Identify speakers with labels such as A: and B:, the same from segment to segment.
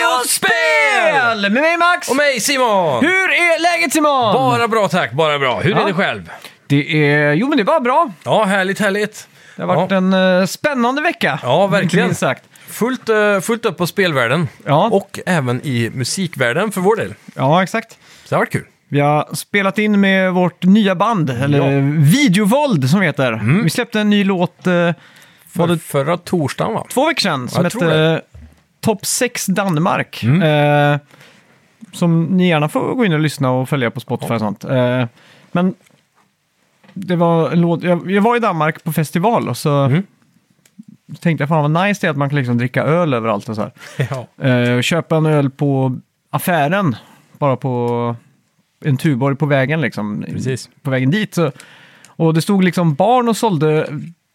A: Eh,
B: spel! Med mig Max!
A: Och mig Simon!
B: Hur är läget Simon?
A: Bara bra tack, bara bra. Hur
B: Ja.
A: är det själv?
B: Det är... Jo men det var bra.
A: Ja, härligt, härligt.
B: Det har varit
A: ja.
B: en eh, spännande vecka.
A: Ja, verkligen.
B: Inte minst sagt.
A: fullt, eh, fullt upp på spelvärlden.
B: Ja.
A: Och även i musikvärlden för vår del.
B: Ja, exakt.
A: Så det har varit kul.
B: Vi har spelat in med vårt nya band, eller
A: Ja. Mm.
B: Videovåld som det heter. Vi släppte en ny låt eh,
A: För,
B: var det
A: Förra torsdagen va?
B: två veckor sedan som
A: jag tror Mm.
B: hette Top 6 Danmark. Eh, som ni gärna får gå in och lyssna och följa på Spotify och sånt. Eh, men det var en låt, jag, jag var i Danmark på festival och så
A: Mm.
B: tänkte jag fan vad nice det är att man kan liksom dricka öl överallt och så här.
A: Ja.
B: Eh, och köpa en öl på affären, bara på en Tuborg på vägen liksom.
A: Precis.
B: På vägen dit. Så, och det stod liksom barn och sålde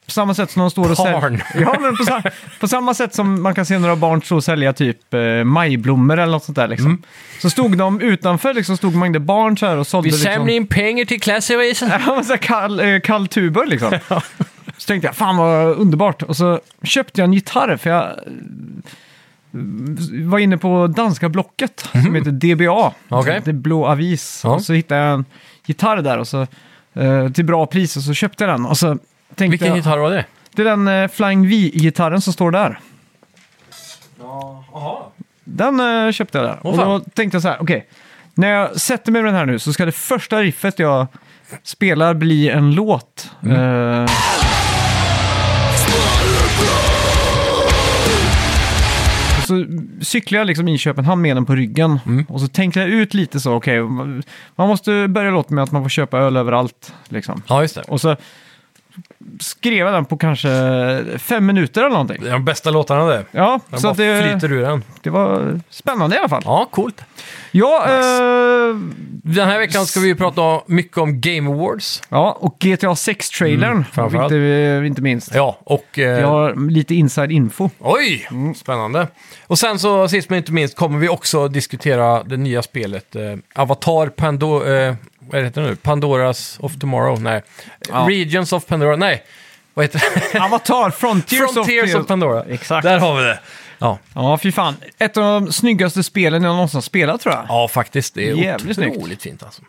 B: på samma sätt som de står och
A: Barn.
B: säljer... Ja, men på, sa- på samma sätt som man kan se några barn stå och sälja typ eh, majblommor eller något sånt där liksom.
A: Mm.
B: Så stod de utanför liksom, stod mängder barn så här och sålde
A: Vi
B: liksom...
A: samlar in pengar till klassavisen.
B: Ja, men så här kall, eh, kall tuber liksom. Så tänkte jag, fan vad underbart. Och så köpte jag en gitarr för jag eh, var inne på danska blocket som heter DBA.
A: Mhm. Okej.
B: Det är Blå Avis.
A: Ja.
B: Och så hittade jag en gitarr där och så, eh, till bra pris och så köpte jag den. Och så tänkte
A: Vilken
B: jag,
A: gitarr var det?
B: Det är den eh, Flying V-gitarren som står där. Den eh, köpte jag där.
A: Åh,
B: och
A: fan.
B: då tänkte jag så här, okej. när jag sätter mig med den här nu så ska det första riffet jag spelar bli en låt.
A: Mm.
B: Eh, och så cyklar jag liksom i Köpenhamn med den på ryggen.
A: Mm.
B: Och så tänker jag ut lite så, okej. man måste börja låta med att man får köpa öl överallt. Liksom.
A: Ja, just det.
B: Och så skrev jag den på kanske fem minuter eller någonting.
A: Det är de bästa låtarna det.
B: Ja,
A: Den
B: så
A: bara
B: att det,
A: flyter ur den.
B: det var spännande i alla fall.
A: Ja, coolt.
B: Ja,
A: Nice.
B: eh,
A: Den här veckan ska vi ju prata mycket om Game Awards.
B: ja och GTA 6-trailern,
A: Mm, framförallt.
B: inte, eh, inte minst.
A: Ja, och... eh,
B: Jag har lite inside info.
A: Oj, spännande. Och sen så sist men inte minst kommer vi också diskutera det nya spelet eh, Avatar Pando eh, vad heter det nu? Pandoras of Tomorrow. Nej,
B: Ja.
A: Regions of Pandora. Nej, vad heter det?
B: Avatar, Frontiers,
A: Frontiers of Pandora.
B: Exakt.
A: Där har vi det. Ja,
B: Ja, fy fan. Ett av de snyggaste spelen jag någonsin har spelat tror jag.
A: ja faktiskt. Det är
B: Jävligt
A: otroligt fint alltså.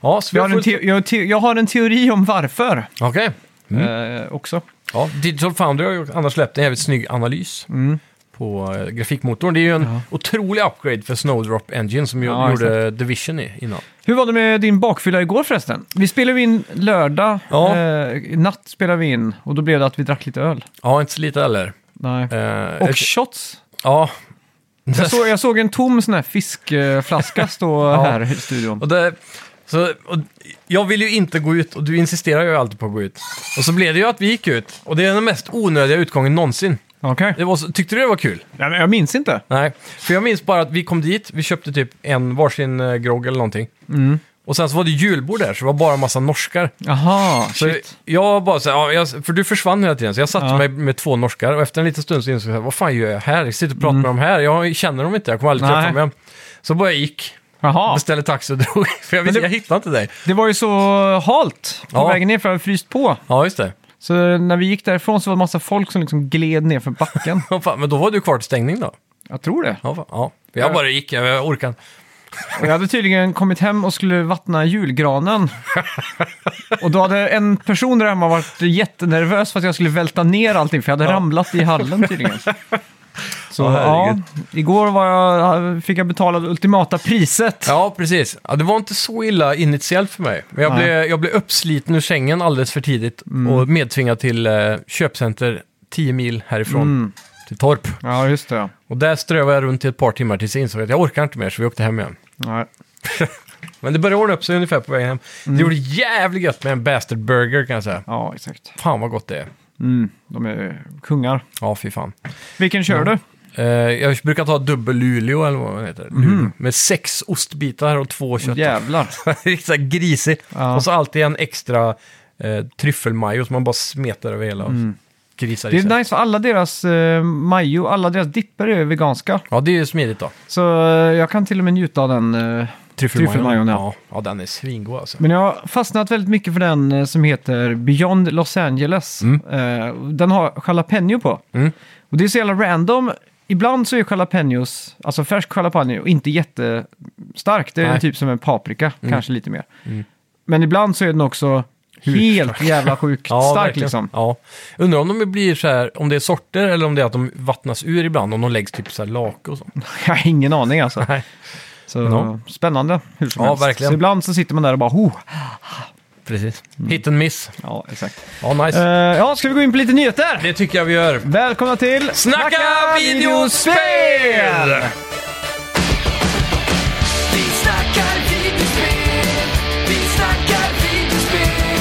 A: Ja, så vi
B: jag,
A: har
B: har en
A: fullt...
B: te- jag, har te- jag har en teori om varför
A: Okej. Mm.
B: eh, också.
A: Ja, Digital Foundry har ju annars släppt en jävligt snygg analys.
B: Mm.
A: på eh, grafikmotorn. Det är ju en otrolig upgrade för Snowdrop Engine som ju
B: Ja,
A: gjorde Division i, innan.
B: Hur var det med din bakfylla igår förresten? Vi spelade ju in lördag,
A: Ja.
B: eh, natt spelade vi in och då blev det att vi drack lite öl.
A: Ja, inte så lite heller.
B: Nej.
A: Eh,
B: Och
A: ett-
B: shots.
A: Ja.
B: Jag såg, jag såg en tom sån här fiskflaska stå här i studion.
A: Och det, så, och jag vill ju inte gå ut och du insisterar ju alltid på att gå ut. Och så blev det ju att vi gick ut. Och det är den mest onödiga utgången någonsin.
B: Okej.
A: Det var så, tyckte du det var kul?
B: Ja, men jag minns inte.
A: Nej. För jag minns bara att vi kom dit, vi köpte typ en varsin eh, grogg eller någonting. Och sen så var det julbord där, så det var bara en massa norskar.
B: Jaha,
A: Så
B: shit.
A: jag bara så här, ja, jag, för du försvann hela tiden, så jag satte
B: Ja.
A: mig med två norskar och efter en liten stund så insåg jag, vad fan gör jag här? Jag sitter och pratar med dem här, jag känner dem inte, jag kommer aldrig
B: Mm. Nej.
A: träffa dem igen. Så bara jag gick,
B: Jaha.
A: beställde taxi och drog, för
B: Men
A: jag, visste,
B: det-
A: jag hittade inte dig.
B: Det var ju så halt på
A: Ja.
B: vägen ner för jag hade fryst på.
A: Ja, just det.
B: Så när vi gick därifrån så var det massa folk som liksom gled ner för backen.
A: Ja, fan, men då var du kvar till stängning då?
B: jag tror det.
A: Ja, fan, ja. För jag
B: Ja.
A: bara gick, jag, jag orkade inte.
B: Och jag hade tydligen kommit hem och skulle vattna julgranen. Och då hade en person där hemma varit jättenervös för att jag skulle välta ner allting, för jag hade
A: Ja.
B: ramlat i hallen tydligen. Så
A: Åh,
B: ja,
A: herregud.
B: igår var jag, fick jag betala det ultimata priset.
A: Ja, precis. Ja, det var inte så illa initiellt för mig. Men jag,
B: Nej. Mm.
A: blev, jag blev uppsliten ur sängen alldeles för tidigt och medtvingad till eh, köpcenter 10 mil härifrån,
B: Mm.
A: till Torp.
B: Ja, just det.
A: Och där strövade jag runt i ett par timmar tills jag insåg att jag orkar inte mer, så vi åkte hem igen.
B: Nej.
A: Men det började ordna upp sig ungefär på vägen hem.
B: Mm.
A: Det gjorde jävligt gött med en bastard burger kan jag säga.
B: Ja, exakt.
A: Fan vad gott det är.
B: Mm, de är kungar.
A: Ja, fy fan.
B: Vilken kör du?
A: Eh, jag brukar ta dubbel Luleå eller vad den heter.
B: Mm.
A: Luleå. Med sex ostbitar och två kött.
B: Jävlar.
A: Riktigt så här grisig.
B: Ja.
A: Och så alltid en extra eh, tryffelmajo som man bara smetar över hela och grisar
B: Mm. Det
A: i sig.
B: är nice för alla deras eh, majo, alla deras dipper är veganska.
A: Ja, det är ju smidigt då.
B: Så eh, jag kan till och med njuta av den. Eh. Tryffelmajon, ja.
A: ja. Ja, den är svingod alltså.
B: Men jag har fastnat väldigt mycket för den eh, som heter Beyond Los Angeles. Eh, den har jalapeno på.
A: Mm.
B: Och det är så jävla random ibland så är jalapenos, alltså färsk jalapeno, inte jättestark. Det är
A: Nej.
B: typ som en paprika, kanske lite mer.
A: Mm.
B: Men ibland så är den också helt jävla sjukt stark
A: verkligen.
B: liksom.
A: Ja. Undrar om de blir så här, om det är sorter eller om det är att de vattnas ur ibland, om de läggs typ så här lake och så.
B: Jag har ingen aning alltså.
A: Nej.
B: Så
A: Ja.
B: spännande hur som
A: Ja,
B: helst.
A: verkligen.
B: Så ibland så sitter man där och bara oh.
A: Precis. Hit and miss.
B: Ja, exakt.
A: Ja, nice.
B: Mm. Eh, ja, ska vi gå in på lite nyheter?
A: Det tycker jag vi gör.
B: Välkomna till
A: Snacka videospel!
C: Vi snackar videospel, vi snackar videospel,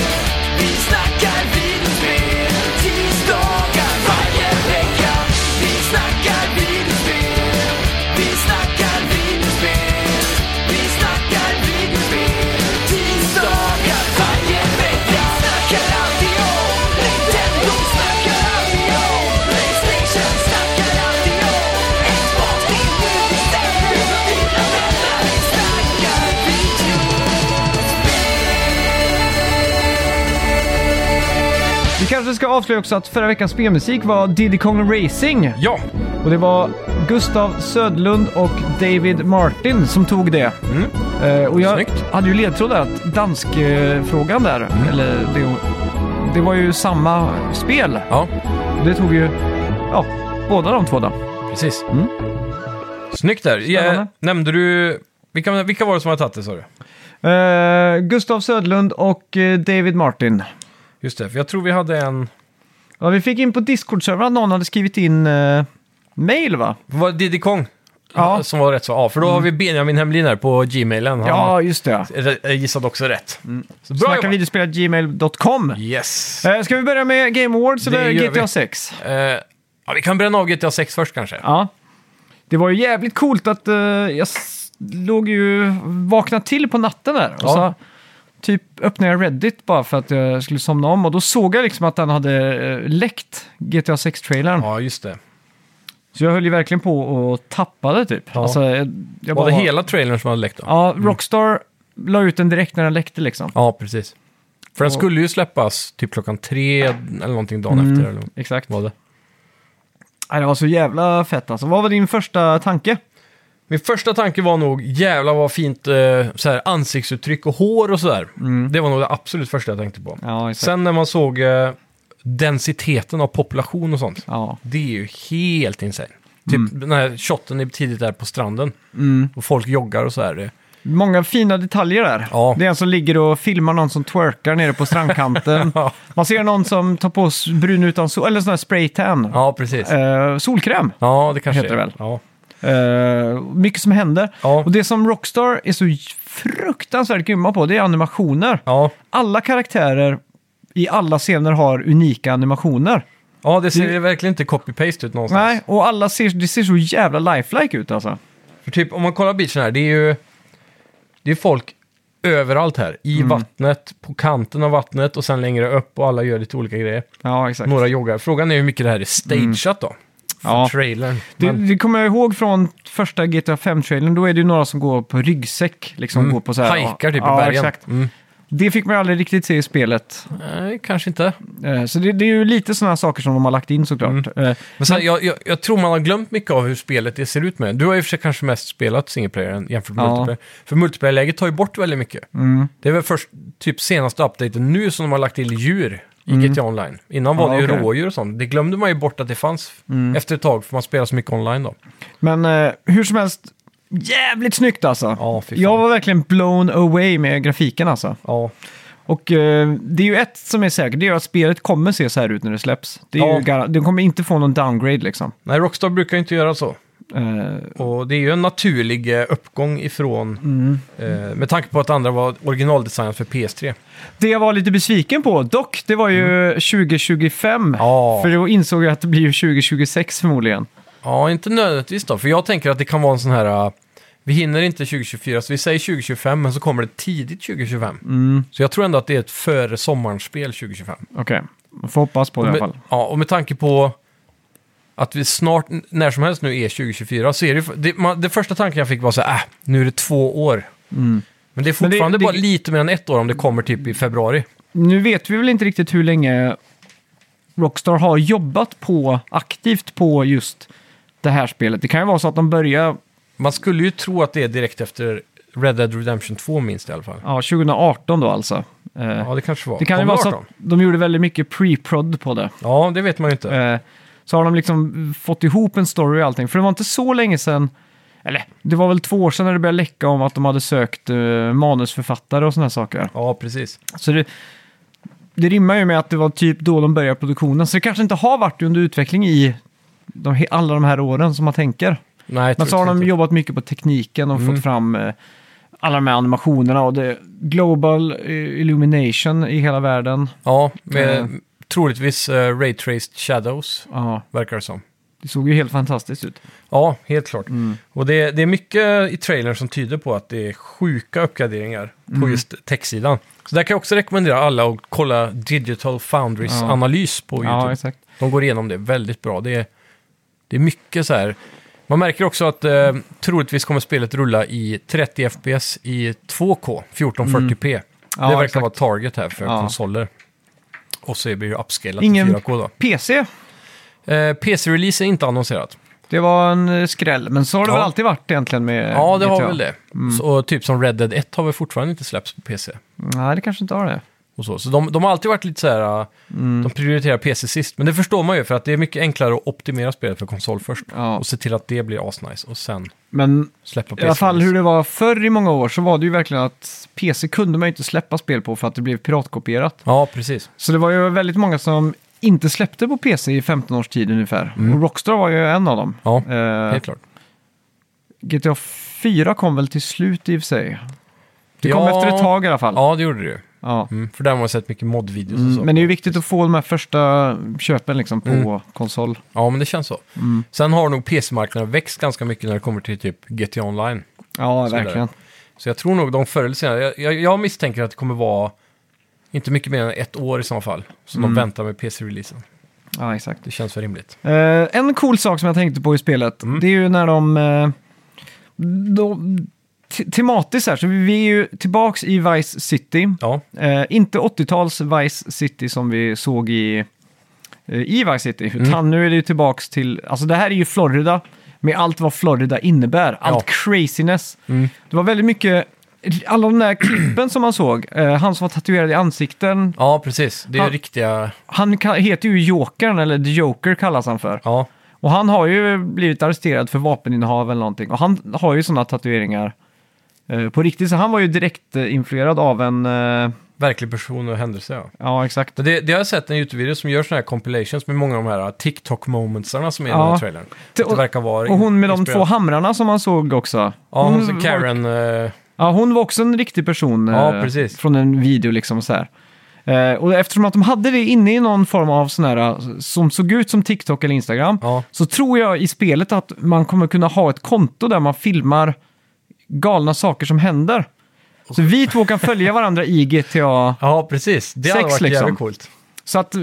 C: vi snackar videospel, tisdagar varje vecka. Vi snackar videospel, vi snackar videospel, vi snackar videospel, tisdagar varje vecka. Vi snackar alltid om Nintendo, snackar alltid om Playstation, snackar alltid om Xbox, din nu bestämmer, dina vänner, vi snackar video.
B: Vi kanske ska avslöja också att förra veckans spelmusik var Diddy Kong Racing.
A: Ja,
B: Och det var Gustav Södlund och David Martin som tog det. Eh, och jag
A: Mm. Snyggt. Mm.
B: hade ju ledtråd där att danskfrågan där, eller det, det var ju samma spel.
A: ja
B: Det tog ju, ja, båda de två då.
A: precis. Snyggt där. Ja,
B: Mm. Spännande.
A: nämnde du... Vilka, vilka var det som hade tagit det, sa du?
B: Eh, Gustav Södlund och eh, David Martin.
A: Just det, för jag tror vi hade en...
B: Ja, vi fick in på Discord-servern att någon hade skrivit in eh, mail va?
A: Var det Diddy Kong?
B: Ja. Mm.
A: Som var rätt så. Ja, för då har vi Benjamin Hemlin här på Gmailen. Han
B: Ja, Mm. just det.
A: r- gissade också rätt. Så bra
B: Snacka
A: jobbat!
B: videospelat.gmail.com.
A: Yes.
B: Eh, ska vi börja med Game Awards
A: Det
B: eller
A: gör vi.
B: GTA 6?
A: Eh, ja, vi kan bränna av GTA 6 först kanske.
B: Ja. Det var ju jävligt coolt att eh, jag s- låg ju vaknade till på natten där. Och
A: Ja.
B: så typ öppnade jag Reddit bara för att jag skulle somna om. Och då såg jag liksom att den hade eh, läckt GTA 6-trailern.
A: Ja, just det.
B: Så jag höll ju verkligen på och tappade typ.
A: Ja.
B: Alltså, jag, jag
A: Var
B: bara,
A: det hela Mm. trailern som hade läckt då?
B: Ja, Rockstar la ut den direkt när den läckte liksom.
A: Ja, precis. För den skulle ju släppas typ klockan tre eller någonting dagen
B: Mm.
A: efter. Eller
B: Exakt.
A: vad det.
B: Nej, det var så jävla fett alltså. Vad var din första tanke?
A: Min första tanke var nog jävla vad fint eh, så här, ansiktsuttryck och hår och sådär. Det var nog det absolut första jag tänkte på.
B: Ja, Mm. exakt.
A: Sen när man såg eh, densiteten av population och sånt.
B: Ja.
A: Det är ju helt insane. Typ
B: Mm.
A: den här shotten är tidigt där på stranden. Och folk joggar och så här. Det-
B: Många fina detaljer där.
A: Ja.
B: Det är en som ligger och filmar någon som twerkar nere på strandkanten.
A: Ja.
B: Man ser någon som tar på s- brun utan sol, eller sån här spraytan.
A: Ja, precis.
B: Eh, solkräm.
A: Ja, det kanske
B: heter
A: är.
B: det väl.
A: Ja.
B: Eh, mycket som händer.
A: Ja.
B: Och det som Rockstar är så fruktansvärt grymma på, det är animationer.
A: Ja.
B: Alla karaktärer i alla scener har unika animationer.
A: ja, det ser
B: Det-
A: verkligen inte copy-paste ut någonstans.
B: Nej, och alla ser, det ser så jävla lifelike ut alltså.
A: För typ om man kollar beachen här, det är ju det är folk överallt här. I
B: Mm.
A: vattnet, på kanten av vattnet och sen längre upp och alla gör lite olika grejer.
B: Ja, exakt. Mm.
A: Några joggar. Frågan är hur mycket det här är stageat då. För
B: Ja.
A: trailern.
B: Det,
A: Men-
B: det kommer jag ihåg från första GTA 5-trailern, då är det ju några som går på ryggsäck. Liksom går på så här,
A: Hajkar typ i
B: ja,
A: bergen.
B: Exakt.
A: Mm.
B: Det fick man ju aldrig riktigt se i spelet.
A: Nej, kanske inte.
B: Eh, Så det, det är ju lite sådana saker som de har lagt in
A: Mm.
B: såklart. Eh,
A: Men sen, jag, jag, jag tror man har glömt mycket av hur spelet det ser ut med. Du har ju för sig kanske mest spelat singleplayer än- jämfört med
B: Ja.
A: multiplayer. För multiplayer-läget tar ju bort väldigt mycket. Det är väl först typ senaste updaten nu som de har lagt till djur i GTA Online. Innan var
B: Ja,
A: det ju
B: okej.
A: rådjur och sånt. Det glömde man ju bort att det fanns efter ett tag, för man spelar så mycket online då.
B: Men eh, hur som helst, jävligt snyggt alltså.
A: Ja, fy fan.
B: jag var verkligen blown away med grafiken alltså.
A: Ja,
B: Och eh, det är ju ett som är säkert, det är att spelet kommer se så här ut när det släpps. Det är
A: Ja.
B: ju gar- det kommer inte få någon downgrade liksom.
A: nej Rockstar brukar ju inte göra så.
B: Eh,
A: Och det är ju en naturlig eh, uppgång ifrån, eh, med tanke på att andra var originaldesignat för PS3.
B: Det jag var lite besviken på dock, det var ju 2025.
A: Mm. Ja.
B: För då insåg jag att det blir ju 2026 förmodligen.
A: Ja, inte nödvändigtvis då, för jag tänker att det kan vara en sån här... äh, Vi hinner inte 2024, så vi säger 2025, men så kommer det tidigt 2025.
B: Mm.
A: Så jag tror ändå att det är ett före sommarspel 2025.
B: Okej, man får hoppas på det i alla
A: Med,
B: fall.
A: ja, och med tanke på att vi snart, n- när som helst nu är 2024, så är det, ju f- det, man, det första tanken jag fick var så här, äh, nu är det två år. Men det är
B: Mm. Men det-
A: fortfarande bara
B: det-
A: lite mer än ett år om det kommer typ i februari.
B: Nu vet vi väl inte riktigt hur länge Rockstar har jobbat på aktivt på just det här spelet. Det kan ju vara så att de börjar
A: Man skulle ju tro att det är direkt efter Red Dead Redemption 2 minst i alla fall.
B: ja, 2018 då alltså. Eh,
A: Ja, det kanske var.
B: det kan ju
A: Kom
B: vara så
A: 18?
B: att de gjorde väldigt mycket pre-prod på det.
A: Ja, det vet man ju inte.
B: Eh, Så har de liksom fått ihop en story och allting. För det var inte så länge sedan, eller det var väl två år sedan när det började läcka om att de hade sökt eh, manusförfattare och sådana här saker.
A: Ja, precis.
B: Så det, det rimmar ju med att det var typ då de började produktionen. Så det kanske inte har varit under utveckling i de, he- alla de här åren som man tänker.
A: Nej, jag
B: Men
A: tror
B: så har de
A: inte.
B: jobbat mycket på tekniken och
A: Mm.
B: fått fram eh, alla de här animationerna och det global eh, illumination i hela världen.
A: Ja, med
B: Eh.
A: troligtvis uh, Ray Traced Shadows,
B: Ja,
A: verkar det som.
B: det såg ju helt fantastiskt ut.
A: Ja, helt klart.
B: Mm.
A: Och det, det är mycket i trailern som tyder på att det är sjuka uppgraderingar
B: Mm.
A: på just textsidan. Så där kan jag också rekommendera alla att kolla Digital Foundries
B: Ja.
A: analys på YouTube.
B: Ja, exakt.
A: De går igenom det väldigt bra. Det är, det är mycket så här. Man märker också att eh, troligtvis kommer spelet rulla i 30 FPS i 2K, 1440p.
B: Ja,
A: det verkar
B: exakt.
A: vara target här för
B: Ja.
A: konsoler. Och så blir det upscalat
B: Ingen-
A: till 4K
B: PC,
A: då. Eh, PC-release är inte annonserat.
B: det var en eh, skräll. Men så har det
A: Ja.
B: väl alltid varit egentligen med
A: ja, det har
B: GTA.
A: väl det.
B: Mm.
A: Så, och typ som Red Dead 1 har väl fortfarande inte släppts på PC.
B: Nej, det kanske inte har det.
A: Och så så de, de har alltid varit lite så här, eh,
B: Mm.
A: de prioriterar PC sist. Men det förstår man ju för att det är mycket enklare att optimera spelet för konsol först.
B: Ja.
A: Och se till att det blir asnice och sen
B: Men
A: släppa
B: i
A: PC.
B: alla fall hur det var förr i många år så var det ju verkligen att PC kunde man ju inte släppa spel på för att det blev piratkopierat.
A: Ja, precis.
B: Så det var ju väldigt många som inte släppte på PC i 15 års tid ungefär.
A: Mm.
B: Och Rockstar var ju en av dem.
A: Ja,
B: Eh,
A: helt klart.
B: GTA 4 kom väl till slut i och för sig. Det kom
A: Ja.
B: efter ett tag i alla fall.
A: Ja, det gjorde det ju.
B: Ja.
A: Mm, för där har man sett mycket modvideos och så.
B: Mm, men det är ju viktigt att få de här första köpen liksom på
A: Mm.
B: konsol.
A: Ja, men det känns så.
B: Mm.
A: Sen har nog PC-marknaden växt ganska mycket när det kommer till typ GTA Online.
B: Ja,
A: Så
B: verkligen.
A: Så jag tror nog de förr eller senare, jag, jag, jag misstänker att det kommer vara inte mycket mer än ett år i så fall, som
B: Mm.
A: de väntar med PC-releasen.
B: Ja, exakt.
A: Det känns väl rimligt.
B: Eh, en cool sak som jag tänkte på i spelet, det är ju när de... eh, de te- tematiskt här, så vi är ju tillbaks i Vice City.
A: Ja,
B: Eh, inte 80-tals Vice City som vi såg i, eh, i Vice City, utan nu är det ju tillbaks till, alltså det här är ju Florida med allt vad Florida innebär, allt craziness. Det var väldigt mycket, alla de där klippen som man såg, eh, han som var tatuerad i ansikten,
A: ja precis. Det är
B: Ja.
A: riktiga...
B: han ka- heter ju Jokern, eller The Joker kallas han för.
A: Ja,
B: Och han har ju blivit arresterad för vapeninnehav eller någonting, och han har ju sådana tatueringar eh, på riktigt, så han var ju direkt eh, influerad av en, eh,
A: verklig person och händelse. Ja.
B: ja exakt.
A: Men Det, det har jag sett en YouTube-video som gör sådana här compilations med många av de här uh, TikTok-momentsarna som är i
B: Ja.
A: den här trailern.
B: Det-
A: det verkar vara
B: Och hon med de
A: inspirerat.
B: två Mm. hamrarna som man såg också.
A: Ja, hon
B: var-
A: som Karen... eh,
B: Ja, hon var också en riktig person eh,
A: Ja, precis.
B: från en video liksom så här. Eh, och eftersom att de hade det inne i någon form av sån här eh, som såg ut som TikTok eller Instagram
A: ja.
B: så tror jag i spelet att man kommer kunna ha ett konto där man filmar galna saker som händer. Så vi två kan följa varandra i GTA.
A: ja, precis. Det hade
B: Sex,
A: varit
B: liksom.
A: jävligt coolt.
B: Så att, eh,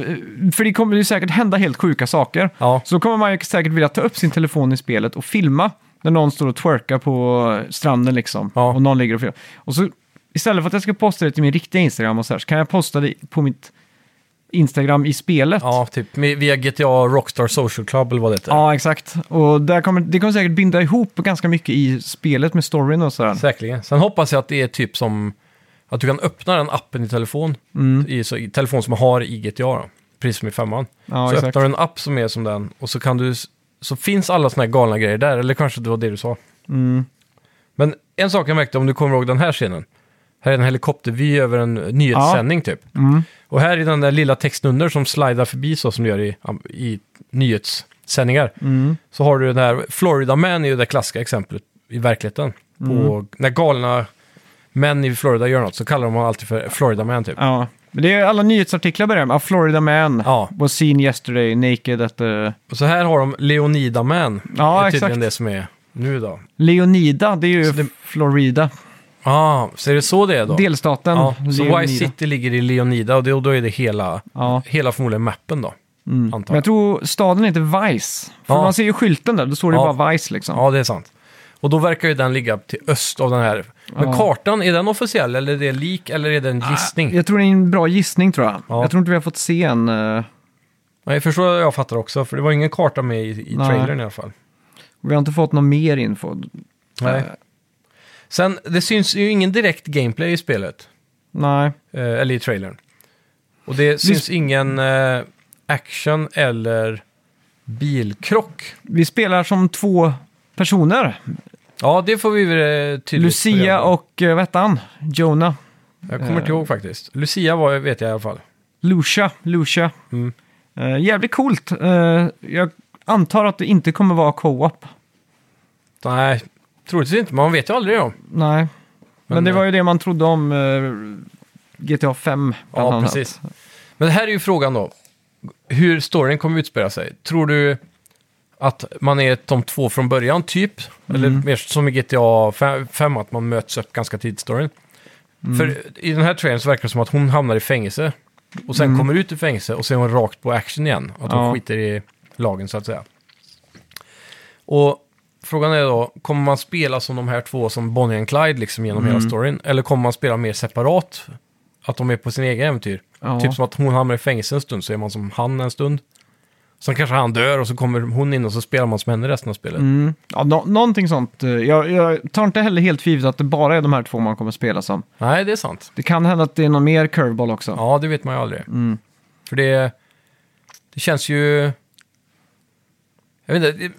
B: för det kommer ju säkert hända helt sjuka saker.
A: Ja.
B: Så då kommer man ju säkert vilja ta upp sin telefon i spelet och filma när någon står och twerkar på stranden liksom.
A: Ja.
B: Och någon ligger och filmar. Och så istället för att jag ska posta det till min riktiga Instagram och så här, så kan jag posta det på mitt Instagram i spelet.
A: Ja, typ med- via GTA Rockstar Social Club eller vad det heter.
B: Ja, exakt. Och där kommer, det kommer säkert binda ihop ganska mycket i spelet med storyn och sådär.
A: Säkerligen. Sen hoppas jag att det är typ som att du kan öppna den appen i telefon.
B: Mm.
A: I, så, i telefon som man har i GTA, då, precis som i femman.
B: Ja,
A: så
B: exakt.
A: öppnar du en app som är som den och så kan du... s- Så finns alla såna här galna grejer där, eller kanske det var det du sa.
B: Mm.
A: Men en sak jag märkte, om du kommer ihåg den här scenen. Här är en helikoptervy över en nyhetssändning typ.
B: Mm.
A: Och här är den där lilla texten under som slidar förbi så som du gör i, i nyhetssändningar. Så har du den här, Florida Man är ju det klassiska exemplet i verkligheten.
B: Mm.
A: På, när galna män i Florida gör något så kallar de honom alltid för Florida Man typ.
B: Ja. Men det är alla nyhetsartiklar börjar med. Ah, Florida Man
A: Ja.
B: was seen yesterday naked at the...
A: Och så här har de Leonida Man.
B: Ja,
A: det är tydligen
B: exakt.
A: det som är nu då.
B: Leonida, det är ju
A: Så det-
B: Florida.
A: Ah, så är det så det är då?
B: Delstaten
A: Ja, så
B: Leonida.
A: Vice City ligger i Leonida och då, då är det hela,
B: Ja.
A: hela förmodligen mappen då. Antar
B: Men jag
A: jag.
B: tror staden heter Vice. För
A: Ja.
B: man ser ju skylten där, då står det
A: Ja.
B: bara Vice liksom.
A: Ja, det är sant. Och då verkar ju den ligga till öst av den här. Men
B: Ja. Ah.
A: kartan, är den officiell eller är det lik eller är det en gissning?
B: Jag tror det är en bra gissning tror jag.
A: Ja.
B: Jag tror inte vi har fått se en... eh,
A: Nej, jag förstår jag fattar också, för det var ingen karta med i, i
B: Nej.
A: trailern i alla fall.
B: Vi har inte fått någon mer info.
A: Nej.
B: Eh,
A: Sen, det syns ju ingen direkt gameplay i spelet.
B: nej.
A: Eh, eller i trailern. Och det syns ingen eh, action eller bilkrock.
B: Vi spelar som två personer.
A: Ja, det får vi väl eh, tydligt
B: Lucia
A: reda på.
B: och, eh, vad hette han? Jonah.
A: Jag kommer inte
B: eh,
A: ihåg faktiskt. Lucia var, vet jag i alla fall.
B: Lucia. Lucia.
A: Mm.
B: Eh, jävligt coolt. Eh, jag antar att det inte kommer vara co-op.
A: Nej, troligtvis inte. Man vet ju aldrig om.
B: Nej. Men,
A: Men,
B: det
A: eh,
B: var ju det man trodde om eh, GTA 5. bland
A: Ja,
B: annat.
A: precis. Men här är ju frågan då. Hur storyn kommer utspela sig. Tror du att man är de två från början, typ? Eller mer som i GTA 5, att man möts upp ganska tidigt i storyn? För i den här trailern så verkar det som att hon hamnar i fängelse. Och sen kommer ut ur fängelse och sen är hon rakt på action igen. Att hon
B: Ja.
A: skiter i lagen, så att säga. Och frågan är då, kommer man spela som de här två, som Bonnie och Clyde, liksom genom hela storyn? Eller kommer man spela mer separat? Att de är på sin egen äventyr?
B: Ja.
A: Typ som att hon hamnar i fängelse en stund, så är man som han en stund. Sen kanske han dör och så kommer hon in och så spelar man som henne resten av spelet.
B: Mm. Ja, nå- någonting sånt. Eh, Jag, jag tar inte heller helt för givet att det bara är de här två man kommer spela som.
A: Nej, det är sant.
B: Det kan hända att det är någon mer curveball också.
A: Ja, det vet man ju aldrig.
B: Mm.
A: För det, det känns ju... Jag vet inte, det,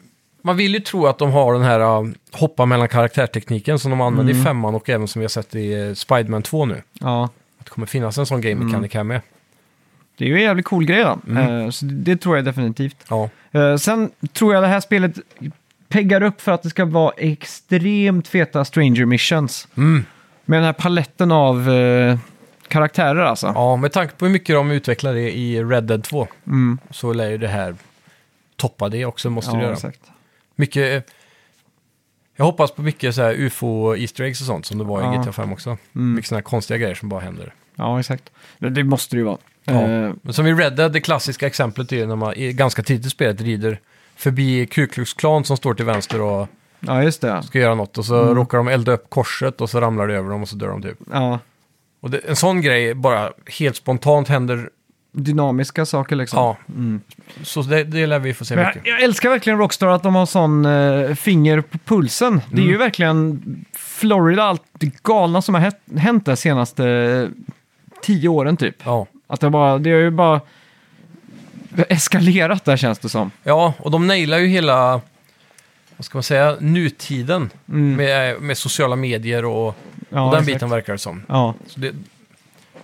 A: man vill ju tro att de har den här uh, hoppa mellan karaktärtekniken som de använder
B: Mm.
A: i femman och även som vi har sett i uh, Spiderman 2 nu.
B: Ja.
A: Att det kommer finnas en sån game
B: Mm.
A: mechanic här med.
B: Det är ju en jävligt cool grej då.
A: Mm.
B: Eh, Så det, det tror jag definitivt.
A: Ja.
B: Eh, Sen tror jag det här spelet peggar upp för att det ska vara extremt feta Stranger Missions.
A: Mm.
B: Med den här paletten av eh, karaktärer alltså.
A: ja, med tanke på hur mycket de utvecklar det i Red Dead 2
B: Mm.
A: så lär ju det här toppa det också, måste det
B: Ja,
A: göra.
B: exakt.
A: Mycket... eh, Jag hoppas på mycket så här UFO-Easter eggs och sånt som det var i
B: Ja. Mm.
A: GTA 5 också. Mycket sådana här konstiga grejer som bara händer.
B: Ja, exakt. Det, det måste det ju vara.
A: Ja.
B: Eh,
A: Men som i Red Dead, det klassiska exemplet är ju när man i ganska tidigt i spelet rider förbi Ku Klux Klan som står till vänster och
B: ja just det.
A: ska göra något och så
B: Mm.
A: råkar de elda upp korset och så ramlar det över dem och så dör de typ.
B: Ja.
A: Och det, en sån grej bara helt spontant händer.
B: Dynamiska saker liksom.
A: Ja, så det, det lär vi få se
B: Men jag,
A: mycket.
B: jag älskar verkligen Rockstar att de har sån eh, finger på pulsen. Det
A: Mm.
B: är ju verkligen Florida, allt det galna som har hä- hänt de senaste eh, tio åren typ.
A: Ja.
B: Att det, bara, det har ju bara eskalerat där känns det som.
A: ja, och de nailar ju hela, vad ska man säga, nutiden med, med sociala medier och,
B: Mm. Ja,
A: och den
B: exakt.
A: biten verkar det som.
B: Ja.
A: Så det,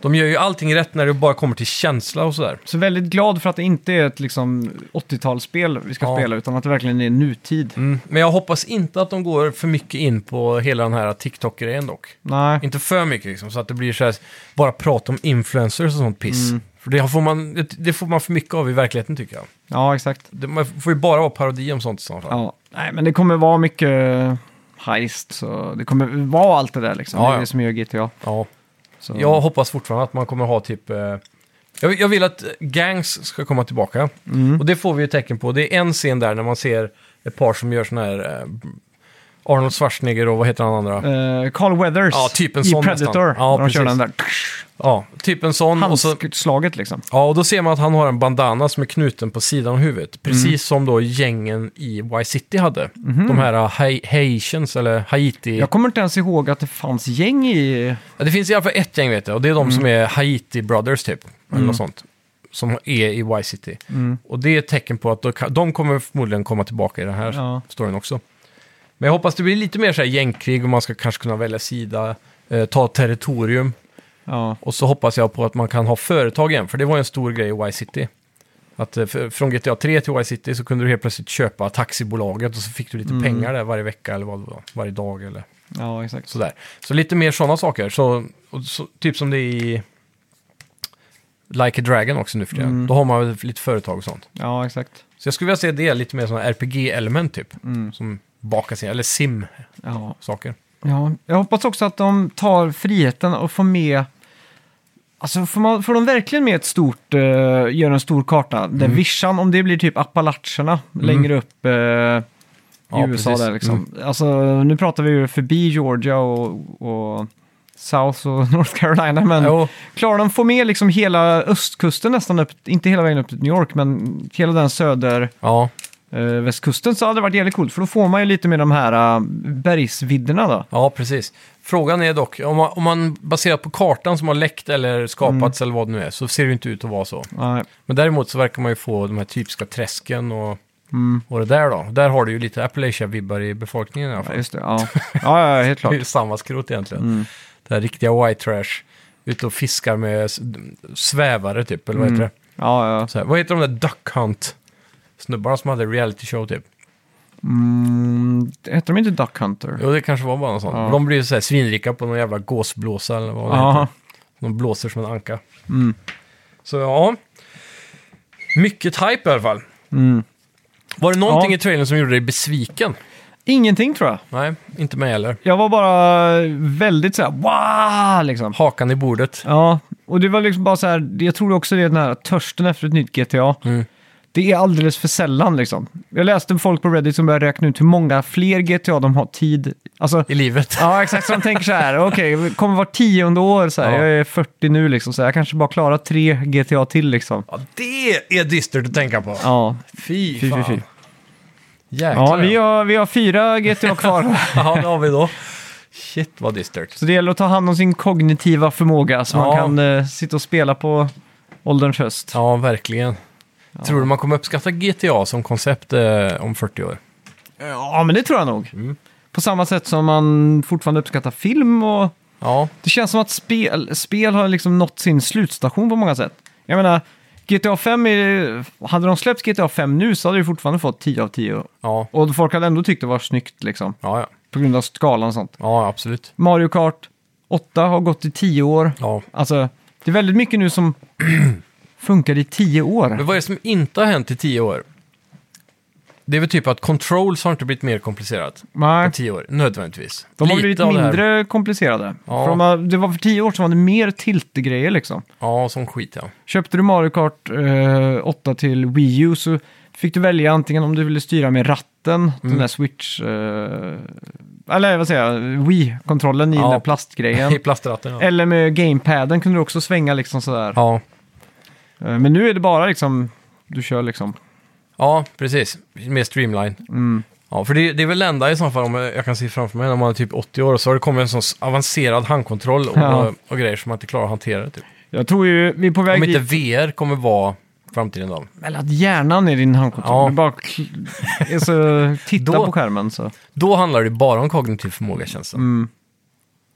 A: de gör ju allting rätt när det bara kommer till känsla och sådär.
B: Så väldigt glad för att det inte är ett liksom, 80-talsspel vi ska
A: Ja.
B: spela, utan att det verkligen är nutid.
A: Mm, men jag hoppas inte att de går för mycket in på hela den här TikTok-grejen dock.
B: Nej.
A: Inte för mycket liksom, så att det blir så här, bara prat om influencers och sånt piss.
B: Mm.
A: För det får, man, det, det får man för mycket av i verkligheten tycker jag.
B: Ja, exakt.
A: Det, man får ju bara vara parodi om sånt i sådana fall.
B: Ja. Nej, men det kommer vara mycket heist, så det kommer vara allt det där liksom.
A: Ja,
B: Det är
A: ja.
B: det som gör GTA.
A: Ja.
B: Så.
A: Jag hoppas fortfarande att man kommer ha typ... Eh, jag, jag vill att gangs ska komma tillbaka. Och det får vi ju tecken på. Det är en scen där när man ser ett par som gör sån här... Eh, Arnold Schwarzenegger och vad heter han andra?
B: Eh, Carl Weathers
A: Ja, typ en
B: i
A: sån
B: Predator.
A: nästan. Ja,
B: när de kör
A: precis.
B: den där
A: Ja, typ en sån. och så-
B: handslaget liksom.
A: Ja, och då ser man att han har en bandana som är knuten på sidan av huvudet. Precis som då gängen i Y-City hade. De här uh, Hai- Haitians eller Haiti. Ja.
B: Jag kommer inte ens ihåg att det fanns gäng i...
A: Det finns i alla fall ett gäng vet jag och det är de som är Haiti Brothers typ. Eller något sånt. Som är i Y-City. Och det är ett tecken på att då, ka- de kommer förmodligen komma tillbaka i den här
B: Ja.
A: storyn också. Men jag hoppas det blir lite mer så här gängkrig och man ska kanske kunna välja sida, eh, ta territorium.
B: Ja,
A: Och så hoppas jag på att man kan ha företag igen, för det var ju en stor grej i Y-City. Att eh, för- från GTA 3 till Y-City så kunde du helt plötsligt köpa taxibolaget och så fick du lite pengar där varje vecka eller vad det var, varje dag eller
B: ja exakt.
A: sådär. Så lite mer sådana saker. Så, och så, typ som det är i Like a Dragon också nu för tiden. Då har man väl lite företag och sånt.
B: Ja, exakt.
A: Så jag skulle vilja se det lite mer sådana RPG-element typ.
B: Mm.
A: Som bakas in, eller sim-saker.
B: Ja. Ja, jag hoppas också att de tar friheten och får med... Alltså får, man, får de verkligen med ett stort, eh, gör en stor karta, där
A: Mm.
B: vischan, om det blir typ Appalacherna längre upp eh, i USA
A: Ja, precis. Mm.
B: där liksom. Alltså nu pratar vi ju förbi Georgia och, och South och North Carolina, men
A: Jo,
B: klarar de få med liksom hela östkusten nästan upp, inte hela vägen upp till New York, men hela den söder,
A: ja,
B: eh, västkusten så hade det varit jävligt coolt. För då får man ju lite med de här eh, bergsvidderna då.
A: Ja, precis. Frågan är dock, om man, om man baserar på kartan som har läckt eller
B: Mm.
A: skapats eller vad det nu är, så ser det ju inte ut att vara så.
B: Nej.
A: Men däremot så verkar man ju få de här typiska träsken och,
B: Mm.
A: och det där då. Där har du ju lite Appalachia-vibbar i befolkningen i alla
B: Ja,
A: fall.
B: just det. Ja, ja, ja helt
A: Det är
B: klart. Mm.
A: ju samma skrot egentligen. Det här riktiga white trash. Ute och fiskar med s- svävare typ, eller vad
B: Mm.
A: heter det?
B: Ja, ja.
A: Så här, vad heter de där Duck Hunt-snubbarna som hade reality show typ?
B: Mm, heter de inte Duck Hunter?
A: Jo, det kanske var bara något sånt.
B: Ja.
A: De blir ju så här svinrika på någon jävla gåsblåsa eller vad det
B: Ja.
A: heter. De blåser som en anka.
B: Mm.
A: Så ja, mycket hype i alla fall.
B: Mm.
A: Var det någonting
B: Ja.
A: i trailern som gjorde dig besviken?
B: Ingenting tror jag.
A: Nej, inte mig heller.
B: Jag var bara väldigt så här wow! Liksom.
A: Hakan i bordet.
B: Ja, och det var liksom bara så här, jag tror också det är den här törsten efter ett nytt GTA.
A: Mm.
B: Det är alldeles för sällan liksom. Jag läste folk på Reddit som började räkna ut hur många fler GTA de har tid. Alltså,
A: I livet.
B: ja exakt, så de tänker så här, okej, det kommer vara tionde år så här,
A: Ja.
B: jag är 40 nu liksom, så jag kanske bara klarar tre GTA till liksom.
A: Ja, det är dystert att tänka på.
B: Ja,
A: Fy,
B: fy, fy,
A: fan.
B: fy.
A: Jäklar.
B: ja vi, har, vi har fyra GTA kvar.
A: ja, det har vi då. Shit vad dystert.
B: Så det gäller att ta hand om sin kognitiva förmåga så man
A: Ja.
B: kan eh, sitta och spela på ålderns höst.
A: Ja, verkligen. Tror du man kommer uppskatta GTA som koncept eh, om 40 år?
B: Ja, men det tror jag nog.
A: Mm.
B: På samma sätt som man fortfarande uppskattar film och...
A: Ja,
B: Det känns som att spel, spel har liksom nått sin slutstation på många sätt. Jag menar, GTA 5 är... Hade de släppt GTA 5 nu så hade det fortfarande fått 10 av 10.
A: ja,
B: Och folk hade ändå tyckt det var snyggt liksom.
A: ja, ja.
B: På grund av skalan och sånt.
A: ja absolut.
B: Mario Kart 8 har gått i 10 år.
A: Ja.
B: Alltså, det är väldigt mycket nu som funkar i 10 år.
A: Men vad är det som inte har hänt i 10 år? Det är väl typ att controls har inte blivit mer komplicerat på
B: Nej.
A: 10 år, nödvändigtvis.
B: De har
A: Lite
B: blivit
A: av det här-
B: mindre komplicerade.
A: Ja.
B: För de har, det var för tio år sedan var det mer tiltgrejer liksom.
A: Ja, som skit ja.
B: Köpte du Mario Kart eh, 8 till Wii U så fick du välja antingen om du ville styra med ratten,
A: Mm.
B: den där Switch... Eh, eller vad säger jag, Wii-kontrollen i
A: Ja.
B: den där plastgrejen.
A: I plastratten ja.
B: eller med gamepaden kunde du också svänga liksom sådär.
A: ja.
B: Eh, men nu är det bara liksom, du kör liksom.
A: Ja, precis. Mer streamline.
B: Mm.
A: Ja, för det, det är väl det enda i så fall om jag jag kan se framför mig när man är typ 80 år och så har det kommit en sån s- avancerad handkontroll och,
B: Ja.
A: och grejer som man inte klarar att hantera. Typ.
B: Jag tror ju, vi är på väg
A: Om inte
B: dit,
A: VR kommer vara framtiden då.
B: eller att hjärnan är din handkontroll.
A: Ja.
B: Du bara kl- är så, titta
A: Då-
B: på skärmen så.
A: Då handlar det bara om kognitiv förmåga känns det.
B: Mm.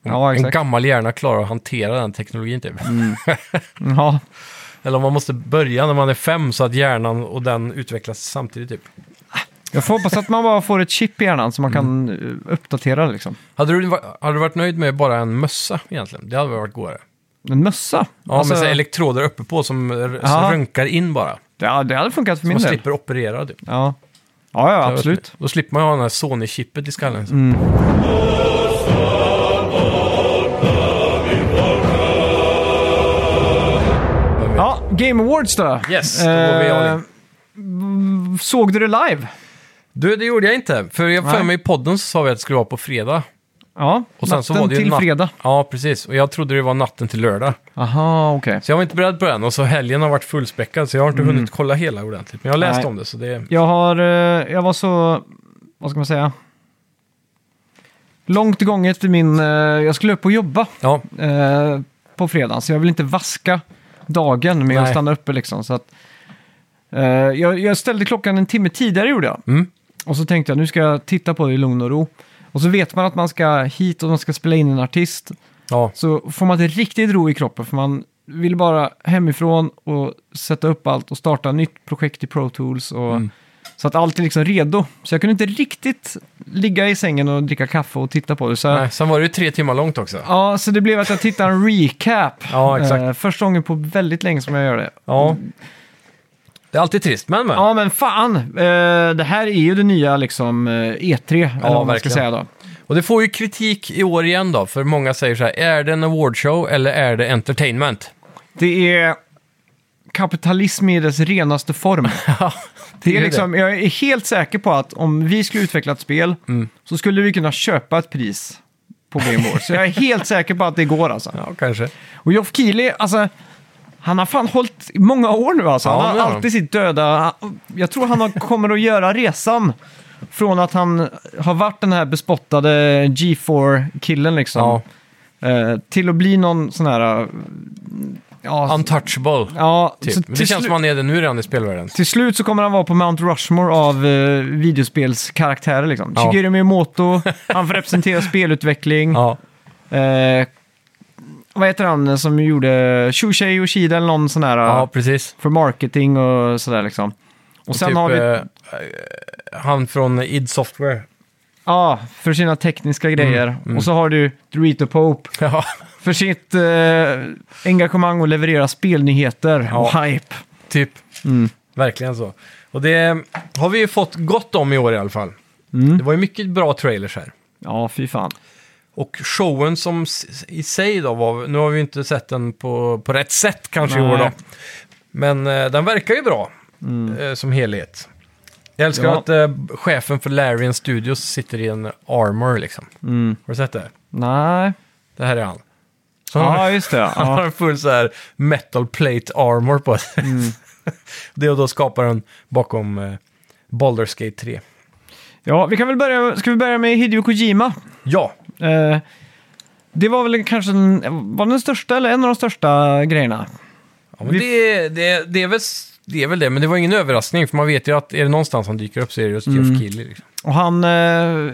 B: Ja,
A: en
B: exakt.
A: gammal hjärna klarar att hantera den teknologin typ.
B: Ja,
A: Eller om man måste börja när man är fem så att hjärnan och den utvecklas samtidigt typ.
B: jag får hoppas att man bara får ett chip i hjärnan så man kan
A: Mm.
B: eh, uppdatera liksom.
A: Hade du, va- hade du varit nöjd med bara en mössa egentligen? Det hade väl varit godare.
B: En mössa?
A: Ja,
B: Alltså,
A: med så här elektroder uppe på som, r- som
B: Ja.
A: röntgar in bara.
B: ja, det hade funkat för min
A: Man
B: del.
A: slipper operera typ.
B: Ja. Ja, ja, absolut.
A: Då slipper man ju ha den här Sony-chippet i skallen.
B: Ja, Game Awards då.
A: Yes, då går vi all in.
B: Eh, Såg du det live?
A: Du, det gjorde jag inte. För jag för
B: Nej.
A: mig i podden så sa vi att det skulle vara på fredag.
B: Ja,
A: Och sen
B: natten
A: så var det ju
B: till
A: nat-
B: fredag.
A: Ja, precis. Och jag trodde det var natten till lördag.
B: Aha, okej.
A: Så jag var inte beredd på den. Och så helgen har varit fullspäckad så jag har inte hunnit kolla hela ordentligt. Men jag har läst
B: Mm. Nej.
A: om det så det...
B: Jag har, eh, jag var så, vad ska man säga? Långt gånget i min, eh, jag skulle upp och jobba
A: Ja,
B: eh, på fredagen. Så jag vill inte vaska dagen med att
A: Nej.
B: stanna uppe liksom. Så att, eh, jag, jag ställde klockan en timme tidigare gjorde jag.
A: Mm.
B: Och så tänkte jag nu ska jag titta på det i lugn och ro. Och så vet man att man ska hit och man ska spela in en artist.
A: ja,
B: Så får man inte riktigt ro i kroppen för man vill bara hemifrån och sätta upp allt och starta nytt projekt i Pro Tools. Och,
A: Mm.
B: Så att allt är liksom redo. Så jag kunde inte riktigt ligga i sängen och dricka kaffe och titta på det. Så jag-
A: Nej, sen var det ju tre timmar långt också.
B: Ja, så det blev att jag tittade en recap.
A: Ja, exakt.
B: Eh, första gången på väldigt länge som jag gör det.
A: Ja. Det är alltid trist, men, men.
B: Ja, men fan! Eh, det här är ju det nya liksom eh, E3, eller vad man ska
A: verkligen.
B: säga då.
A: Och det får ju kritik i år igen då, för många säger så här, är det en awardshow eller är det entertainment?
B: Det är kapitalism i dess renaste form. Det är liksom, jag är helt säker på att om vi skulle utveckla ett spel
A: Mm.
B: så skulle vi kunna köpa ett pris på Game Awards. Så jag är helt säker på att det går alltså.
A: Ja, kanske.
B: Och Geoff Keighley, alltså, Han har fan hållit i många år nu alltså. han
A: Ja, det
B: har
A: har han.
B: alltid sitt döda... Jag tror han har- kommer att göra resan från att han har varit den här bespottade G4-killen liksom.
A: Ja.
B: eh, Till att bli någon sån här... eh, Ja,
A: Untouchable.
B: ja så
A: Typ. Men det
B: till
A: känns
B: slu- Mm.
A: som man är det nu redan i spelvärlden.
B: till slut så kommer han vara på Mount Rushmore av eh, videospelskaraktärer. Liksom.
A: Ja.
B: Shigeru Miyamoto, han får representera spelutveckling.
A: Ja.
B: Eh, vad heter han som gjorde Shushei Yoshida eller någon sån här eh,
A: ja, precis.
B: för marketing och sådär liksom. Och, sen
A: typ,
B: har vi,
A: eh, han från id Software.
B: ja, för sina tekniska
A: Mm,
B: grejer. Och så har du Dorito Pope
A: Ja,
B: för sitt eh, engagemang och leverera spelnyheter och
A: Ja.
B: hype.
A: typ.
B: Mm.
A: Verkligen så. Och det har vi ju fått gott om i år i alla fall.
B: Mm.
A: Det var ju mycket bra trailers här.
B: Ja, fy fan.
A: Och showen som s- i sig då var, nu har vi ju inte sett den på, på rätt sätt kanske i
B: Nej. Mm.
A: år då. Men eh, den verkar ju bra eh, som helhet. Jag älskar
B: Ja.
A: att eh, chefen för Larian Studios sitter i en armor liksom. Har du sett det?
B: Mm. Nej.
A: Det här är han. Så han,
B: Ja, just det.
A: han har
B: Ja.
A: en full så här metal plate armor på sig.
B: Mm.
A: det och då skapar han bakom eh, Baldur's Gate 3.
B: ja, vi kan väl börja, ska vi börja med Hideo Kojima?
A: Ja,
B: Eh, det var väl kanske den, var den största eller en av de största grejerna.
A: Ja, men det, det, det, är väl, det är väl det, men det var ingen överraskning för man vet ju att är det någonstans han dyker upp så är det just Jeff
B: Mm.
A: Keighley. Liksom.
B: Och han eh,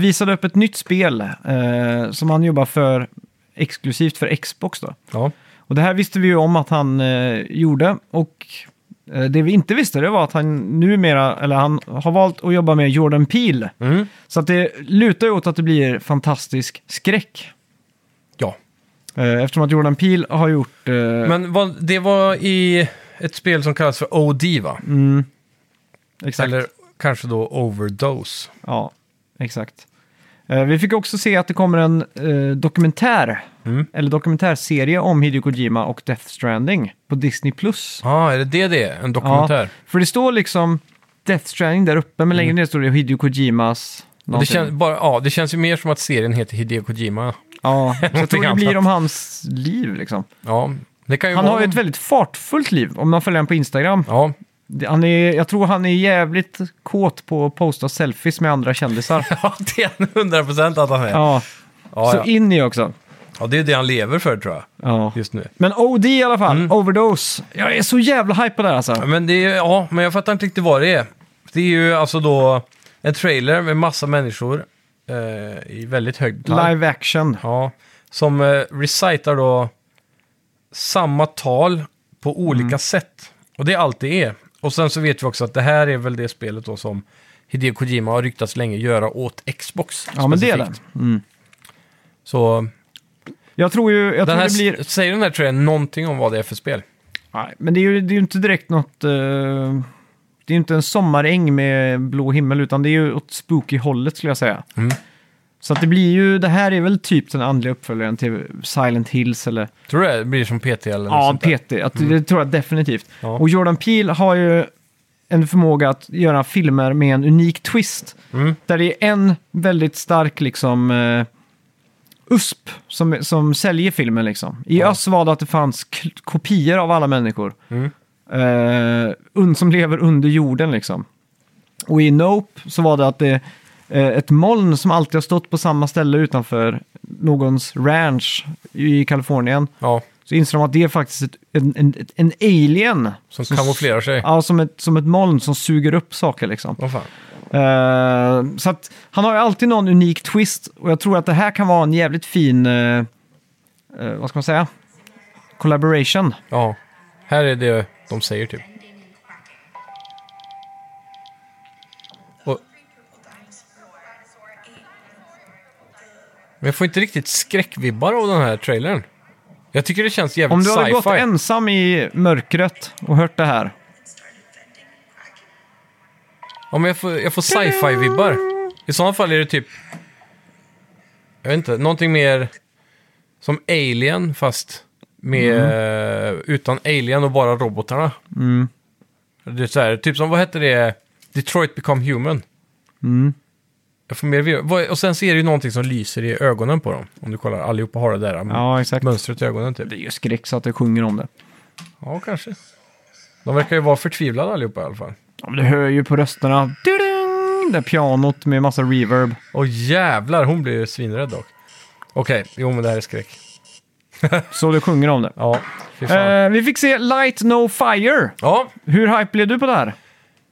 B: visade upp ett nytt spel eh, som han jobbar för exklusivt för Xbox. Då.
A: Ja.
B: Och det här visste vi ju om att han eh, gjorde. Och eh, det vi inte visste det var att han numera, eller han har valt att jobba med Jordan Peele.
A: Mm.
B: Så att det lutar ju åt att det blir fantastisk skräck.
A: ja.
B: Eh, eftersom att Jordan Peele har gjort... Eh,
A: Men vad, det var i ett spel som kallas för OD va?
B: mm, exakt.
A: Eller kanske då Overdose.
B: Ja, exakt. Eh, vi fick också se att det kommer en eh, dokumentär,
A: Mm.
B: eller dokumentärserie om Hideo Kojima och Death Stranding på Disney+. Plus.
A: Ja, ah, är det det det är? En dokumentär? Mm.
B: För det står liksom Death Stranding där uppe, men längre ner står det Hideo Kojimas...
A: Ja. Det,
B: någonting.
A: känns bara, ja, det känns ju mer som att serien heter Hideo Kojima.
B: Ja, så jag tror det
A: Någonting
B: blir
A: annat.
B: om hans liv liksom.
A: Ja, det kan ju
B: Han
A: vara...
B: har ju ett väldigt fartfullt liv om man följer honom på Instagram.
A: Ja,
B: Det- Han är, jag tror han är jävligt kåt på att posta selfies med andra kändisar.
A: Ja, det är 100 procent att han är. Ja,
B: ja, så
A: ja.
B: in i också.
A: ja, det är det han lever för tror jag,
B: Ja.
A: just nu.
B: Men OD i alla fall,
A: Mm.
B: Overdose. Jag är så jävla hype på det här
A: Ja,
B: alltså.
A: Men det är, ja, men jag fattar inte riktigt vad det är. Det är ju alltså då en trailer med massa människor eh, i väldigt hög takt.
B: Live action.
A: Ja, som eh, recitar då samma tal på olika
B: Mm.
A: sätt. Och det är allt det är. Och sen så vet vi också att det här är väl det spelet då som Hideo Kojima har ryktats länge göra åt Xbox.
B: Ja, men det är det.
A: specifikt. Så
B: Jag tror ju, jag
A: den
B: tror
A: här,
B: det blir...
A: säger den här trailern någonting om vad det är för spel?
B: Nej, men det är ju, det är ju inte direkt något... eh, det är ju inte en sommaräng med blå himmel, utan det är ju åt spooky-hållet skulle jag säga.
A: Mm.
B: Så att det blir ju, det här är väl typ den andliga uppföljaren till Silent Hills eller...
A: Tror du det blir som PT eller något
B: Ja,
A: sånt där? Mm.
B: PT. Att, Det tror jag definitivt.
A: Ja.
B: Och Jordan Peele har ju en förmåga att göra filmer med en unik twist.
A: Mm.
B: Där det är en väldigt stark liksom eh, USP som, som säljer filmen liksom. I
A: Ja.
B: öst var det att det fanns k- kopior av alla människor.
A: Mm.
B: Eh, un- som lever under jorden liksom. Och i Nope så var det att det eh, ett moln som alltid har stått på samma ställe utanför någons ranch i Kalifornien.
A: Ja,
B: Så inser de att det är faktiskt ett, en, en, ett- en alien.
A: som kamouflerar sig.
B: Ja, som ett, som ett moln som suger upp saker liksom.
A: Vad fan.
B: Eh, så att han har ju alltid någon unik twist och jag tror att det här kan vara en jävligt fin, eh, eh, vad ska man säga, collaboration.
A: Ja, här är det de säger typ. Och... Men jag får inte riktigt skräckvibbar av den här trailern. Jag tycker det känns jävligt
B: Om du hade
A: sci-fi.
B: gått ensam i mörkret och hört det här.
A: Ja, men jag får, jag får sci-fi-vibbar. I sådana fall är det typ... Jag vet inte, någonting mer som Alien fast med,
B: Mm.
A: utan Alien och bara robotarna. Det är så här, typ som, vad hette det? Detroit Become Human.
B: Mm.
A: Jag får mer vibbar. Vad- Och sen så är det ju någonting som lyser i ögonen på dem. Om du kollar, allihopa har det där
B: Ja, exakt.
A: mönstret i ögonen typ.
B: Det är ju skräck så att det sjunger om det.
A: Ja, kanske. De verkar ju vara förtvivlade allihopa i alla fall.
B: Ja, men du hör ju på rösterna. Du-dung! Det pianot med massa reverb.
A: Och jävlar, hon blir ju svinrädd dock. Okej, jo men det här är skräck.
B: Så du sjunger om det.
A: Ja, fy fan.
B: Eh, vi fick se Light No Fire.
A: Ja,
B: Hur hype blev du på det här?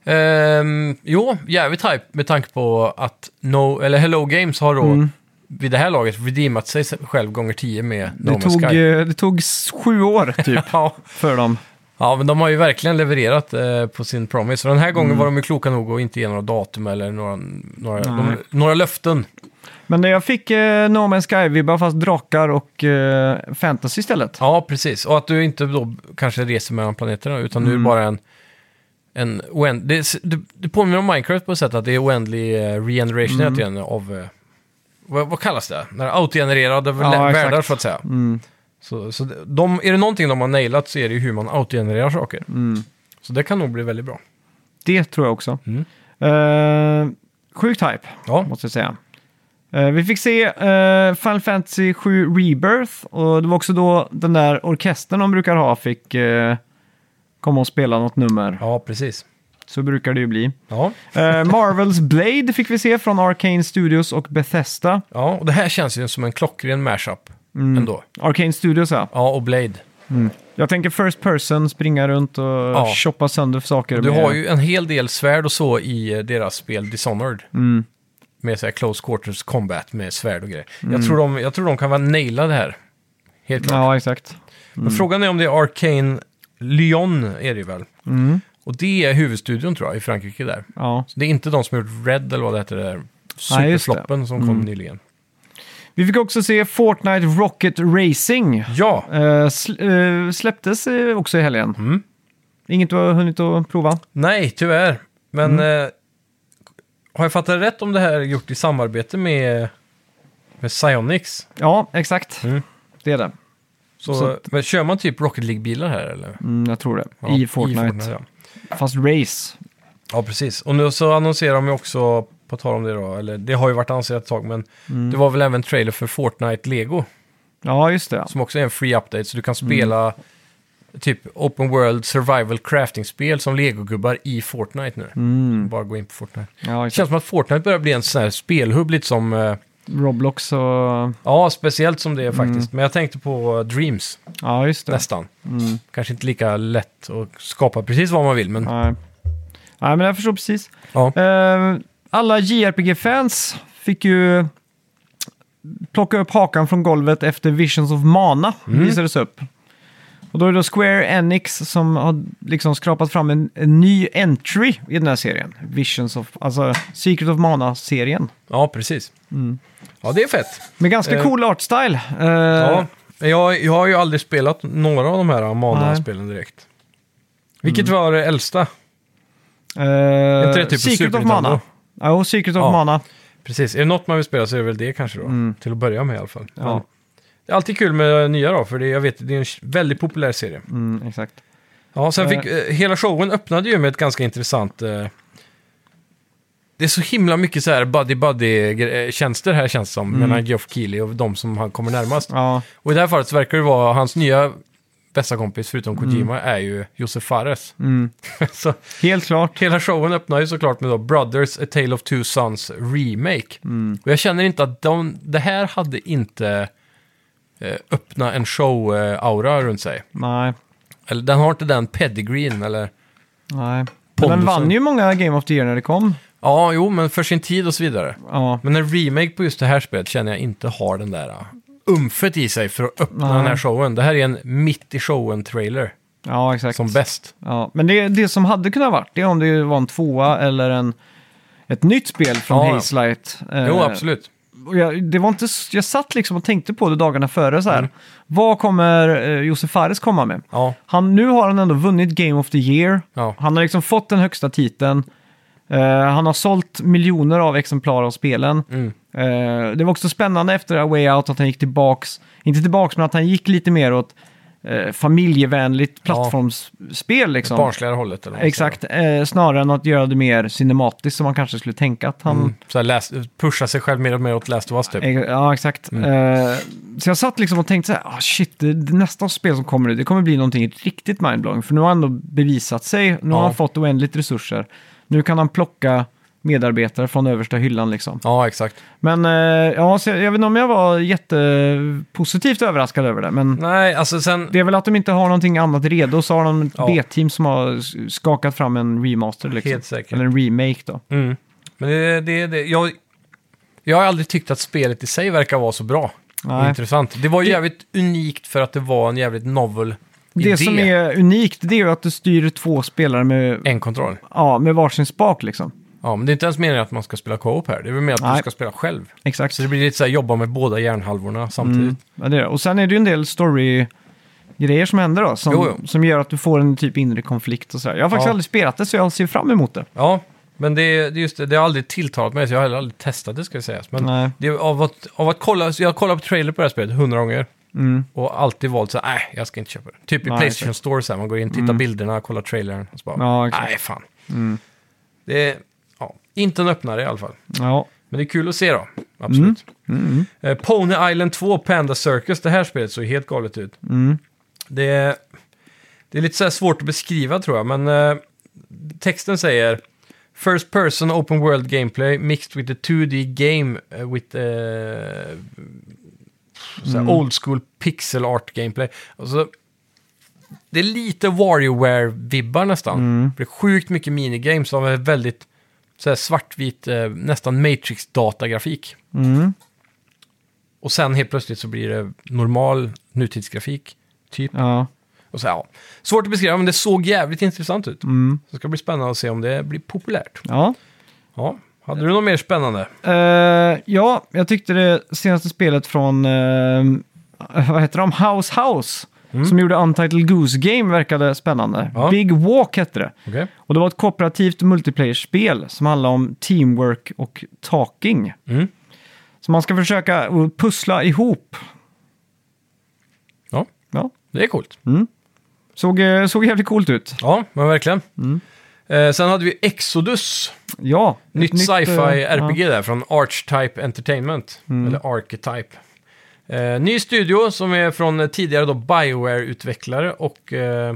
A: Ehm, jo, jävligt hype med tanke på att no, eller Hello Games har då
B: Mm.
A: vid det här laget redeemat sig själv gånger 10 med No
B: Det
A: Man's
B: tog,
A: Sky.
B: eh, det tog s- sju år typ
A: Ja.
B: för dem.
A: ja, men de har ju verkligen levererat eh, på sin promise. Och den här
B: Mm.
A: gången var de ju kloka nog att inte ge några datum eller några, några, de,
B: Nej.
A: några löften.
B: Men jag fick eh, No Man's Sky-vibbar fast drakar och eh, fantasy istället.
A: Ja, precis. Och att du inte då kanske reser mellan planeterna, utan
B: Mm.
A: du är bara en... en oänd... det, s- det, det påminner om Minecraft på ett sätt, att det är oändlig eh, regeneration
B: Mm.
A: hela tiden av... eh, vad, vad kallas det? När outgenererade
B: Ja,
A: ja, världar,
B: exakt.
A: så att säga.
B: Mm.
A: Så, så det- de, är det någonting de har nailat så är det ju hur man outgenererar saker.
B: Mm.
A: Så det kan nog bli väldigt bra.
B: Det tror jag också.
A: Mm.
B: Eh, sjukt hype,
A: Ja,
B: måste jag säga. Eh, vi fick se eh, Final Fantasy 7 Rebirth och det var också då den där orkestern de brukar ha fick eh, komma och spela något nummer.
A: ja precis.
B: Så brukar det ju bli.
A: Ja.
B: Eh, Marvels Blade fick vi se från Arcane Studios och Bethesda.
A: ja, och det här känns ju som en klockren mashup
B: Mm.
A: ändå.
B: Arcane Studios ja.
A: Ja, och Blade.
B: Jag tänker first person, springa runt och choppa sönder saker.
A: Du
B: med-
A: har ju en hel del svärd och så i eh, deras spel Dishonored.
B: Mm.
A: Med så här close quarters combat med svärd och grejer. Jag,
B: Mm.
A: tror de, jag tror de kan vara nailade här. Helt klart.
B: Ja, Mm. exakt.
A: Men frågan är om det är Arcane Lyon är det ju väl.
B: Mm.
A: Och det är huvudstudion tror jag i Frankrike där.
B: Ja.
A: Så det är inte de som har gjort Red eller vad det heter, det
B: Nej,
A: där
B: just det. Mm.
A: superfloppen som kom nyligen.
B: Vi fick också se Fortnite Rocket Racing.
A: Ja,
B: Eh, sl- eh, släpptes eh, också i helgen.
A: Mm.
B: Inget du har hunnit att prova?
A: nej tyvärr. Men
B: Mm.
A: eh, har jag fattat rätt om det här är gjort i samarbete med, med Psyonix?
B: Ja, exakt.
A: Mm.
B: Det är det.
A: Så,
B: Så att-
A: men kör man typ Rocket League-bilar här eller?
B: Mm, jag tror det.
A: Ja,
B: I Fortnite.
A: ja.
B: Fast race.
A: ja, precis. Och nu så annonserar de ju också, på tal om det då, eller det har ju varit annonserat ett tag,
B: Mm.
A: men det var väl även en trailer för Fortnite Lego,
B: Ja, just det.
A: som också är en free update, så du kan
B: Mm.
A: spela typ open world survival crafting-spel som Lego-gubbar i Fortnite nu.
B: Mm.
A: Bara gå in på Fortnite.
B: Ja,
A: Det
B: exakt.
A: känns som att Fortnite börjar bli en sån här spelhubb, lite som, eh,
B: Roblox och...
A: ja, speciellt som det
B: Mm.
A: är faktiskt. Men jag tänkte på eh, Dreams,
B: Ja, just det. Mm.
A: nästan. Kanske inte lika lätt att skapa precis vad man vill, men
B: Nej. Nej, men jag förstår precis.
A: ja.
B: Eh, alla JRPG-fans fick ju plocka upp hakan från golvet efter Visions of Mana
A: Mm.
B: visades upp. Och då är det då Square Enix som har liksom skrapat fram en, en ny entry i den här serien. Visions of, alltså Secret of Mana-serien.
A: Ja, precis.
B: Mm.
A: Ja, det är fett.
B: Med ganska
A: Eh.
B: cool art style. Eh,
A: Ja, jag, jag har ju aldrig spelat några av de här Mana-spelen direkt. Vilket
B: Mm.
A: var det äldsta?
B: eh,
A: inte det typ på
B: Secret
A: Super
B: of Mana.
A: Nintendo?
B: Ja, och Secret of
A: Ja.
B: Mana.
A: Precis, är det något man vill spela så är det väl det kanske då. Till att börja med i alla fall.
B: Mm. Ja.
A: Men Det är alltid kul med nya då, för det, jag vet, det är en väldigt populär serie.
B: Mm, exakt.
A: Ja, sen
B: Eh.
A: fick, eh, hela showen öppnade ju med ett ganska intressant... Eh, det är så himla mycket så här buddy-buddy-tjänster här känns det som,
B: Mm.
A: mellan Geoff Keighley och de som han kommer närmast.
B: Ja,
A: Och i det här fallet så verkar det vara hans nya bästa kompis, förutom Kojima, är ju Josef Fares.
B: mm.
A: så
B: helt klart.
A: hela showen öppnar ju såklart med då Brothers, A Tale of Two Sons Remake.
B: Mm,
A: Och jag känner inte att de, det här hade inte eh, öppna en show-aura runt sig.
B: Nej.
A: Eller den har inte den pedigreen eller...
B: Nej. Men
A: Pondusen.
B: den vann ju många Game of the Year när det kom.
A: Ja, jo, men för sin tid och så vidare.
B: Ja,
A: Men en remake på just det här spelet känner jag inte har den där eh, umfet i sig för att öppna
B: Nej.
A: den här showen. Det här är en mitt i showen-trailer
B: ja exakt.
A: som bäst.
B: Ja, men det, det som hade kunnat varit, det är om det var en tvåa eller en, ett nytt spel från
A: Ja, ja.
B: Haze Light. Eh,
A: Jo, absolut.
B: och Jag, det var inte, s- jag satt liksom och tänkte på det dagarna före så här.
A: Mm.
B: Vad kommer eh, Josef Fares komma med?
A: Ja,
B: Han, nu har han ändå vunnit Game of the Year.
A: ja.
B: Han har liksom fått den högsta titeln. Eh, han har sålt miljoner av exemplar av spelen.
A: Mm.
B: Eh, det var också spännande efter A Way Out att han gick tillbaks, inte tillbaks men att han gick lite mer åt eh, eh, familjevänligt plattformsspel. Liksom.
A: Barnsligare hållet. Eller vad man
B: Exakt, eh, snarare än att göra det mer cinematiskt som man kanske skulle tänka att han...
A: säger. Mm. Så här läs, pusha sig själv mer och mer åt Last of Us typ.
B: Eh, Ja, exakt. Eh, så jag satt liksom och tänkte så här, ah, shit, det, det nästa spel som kommer nu, det kommer bli någonting riktigt mindblowing. För nu har han ändå bevisat sig, nu har
A: Ja.
B: han fått oändligt resurser. Nu kan han plocka medarbetare från översta hyllan liksom.
A: Ja, exakt.
B: Men eh, ja, så jag, jag vet inte om jag var jättepositivt överraskad över det, men
A: Nej, alltså sen...
B: det är väl att de inte har någonting annat redo, så har de
A: Ja.
B: B-team som har s- skakat fram en remaster liksom.
A: Helt säkert.
B: Eller en remake då.
A: Mm. Men det, det, det, jag, jag har aldrig tyckt att spelet i sig verkar vara så bra. och
B: Nej.
A: Intressant. Det var ju
B: Det-
A: jävligt unikt för att det var en jävligt novel
B: Det
A: idé.
B: som är unikt, det är ju att du styr två spelare med
A: En kontroll.
B: Ja, med varsin spak liksom.
A: Ja, men det är inte ens meningen att man ska spela co-op här. Det är väl mer att
B: Nej.
A: du ska spela själv.
B: Exakt.
A: Så det blir lite så här jobba med båda hjärnhalvorna samtidigt.
B: Mm, ja, det är det. Och sen är det ju en del story-grejer som händer då, som,
A: Jo, jo.
B: som gör att du får en typ inre konflikt och sådär. Jag har faktiskt
A: Ja.
B: aldrig spelat det, så jag ser fram emot det.
A: Ja, men det, det, är just det, det har aldrig tilltalat mig, så jag har heller aldrig testat det ska jag säga. Men
B: Nej.
A: det, av att, av att kolla, så jag har kollat på trailer på det här spelet hundra gånger.
B: Mm.
A: Och alltid valt så här, nej, jag ska inte köpa det. Typ i
B: Nej,
A: Playstation
B: exakt. Mm.
A: Store så här, man går in, tittar bilderna, kollar trailern och så bara,
B: Ja, exakt. Mm.
A: nej fan. Det är, ja, inte en öppnare i alla fall.
B: Ja. Mm,
A: Men det är kul att se då, absolut. Eh, Pony Island 2 Panda Circus, det här spelet såg helt galet ut.
B: Mm.
A: Det är, det är lite så här svårt att beskriva tror jag, men eh, texten säger First person open world gameplay mixed with a 2D game eh, with eh, så här old school pixel art gameplay. Alltså, det är lite Warrior-vibbar nästan. Det är sjukt mycket minigames som är väldigt så här svartvit, eh, nästan Matrix-datagrafik.
B: Mm.
A: Och sen helt plötsligt så blir det normal nutidsgrafik, typ.
B: Ja.
A: Och så, här, ja. Svårt att beskriva, men det såg jävligt intressant ut.
B: Mm.
A: Så det ska bli spännande att se om det blir populärt.
B: Ja.
A: Ja, hade du något mer spännande?
B: Eh, ja, jag tyckte det senaste spelet från, eh, vad heter de, House House, som gjorde Untitled Goose Game verkade spännande.
A: Mm. Ja.
B: Big Walk hette det.
A: Okej.
B: Och det var ett kooperativt multiplayer-spel som handlar om teamwork och talking.
A: Mm.
B: Så man ska försöka att pussla ihop.
A: Ja,
B: Ja.
A: det är coolt.
B: Såg, eh, såg jävligt coolt ut.
A: Ja, men verkligen. Eh, sen hade vi Exodus,
B: Ja. ett
A: nytt, sci-fi
B: eh,
A: RPG där från Archetype Entertainment.
B: Mm.
A: Eller Archetype. Eh, ny studio som är från eh, tidigare då Bioware-utvecklare och eh,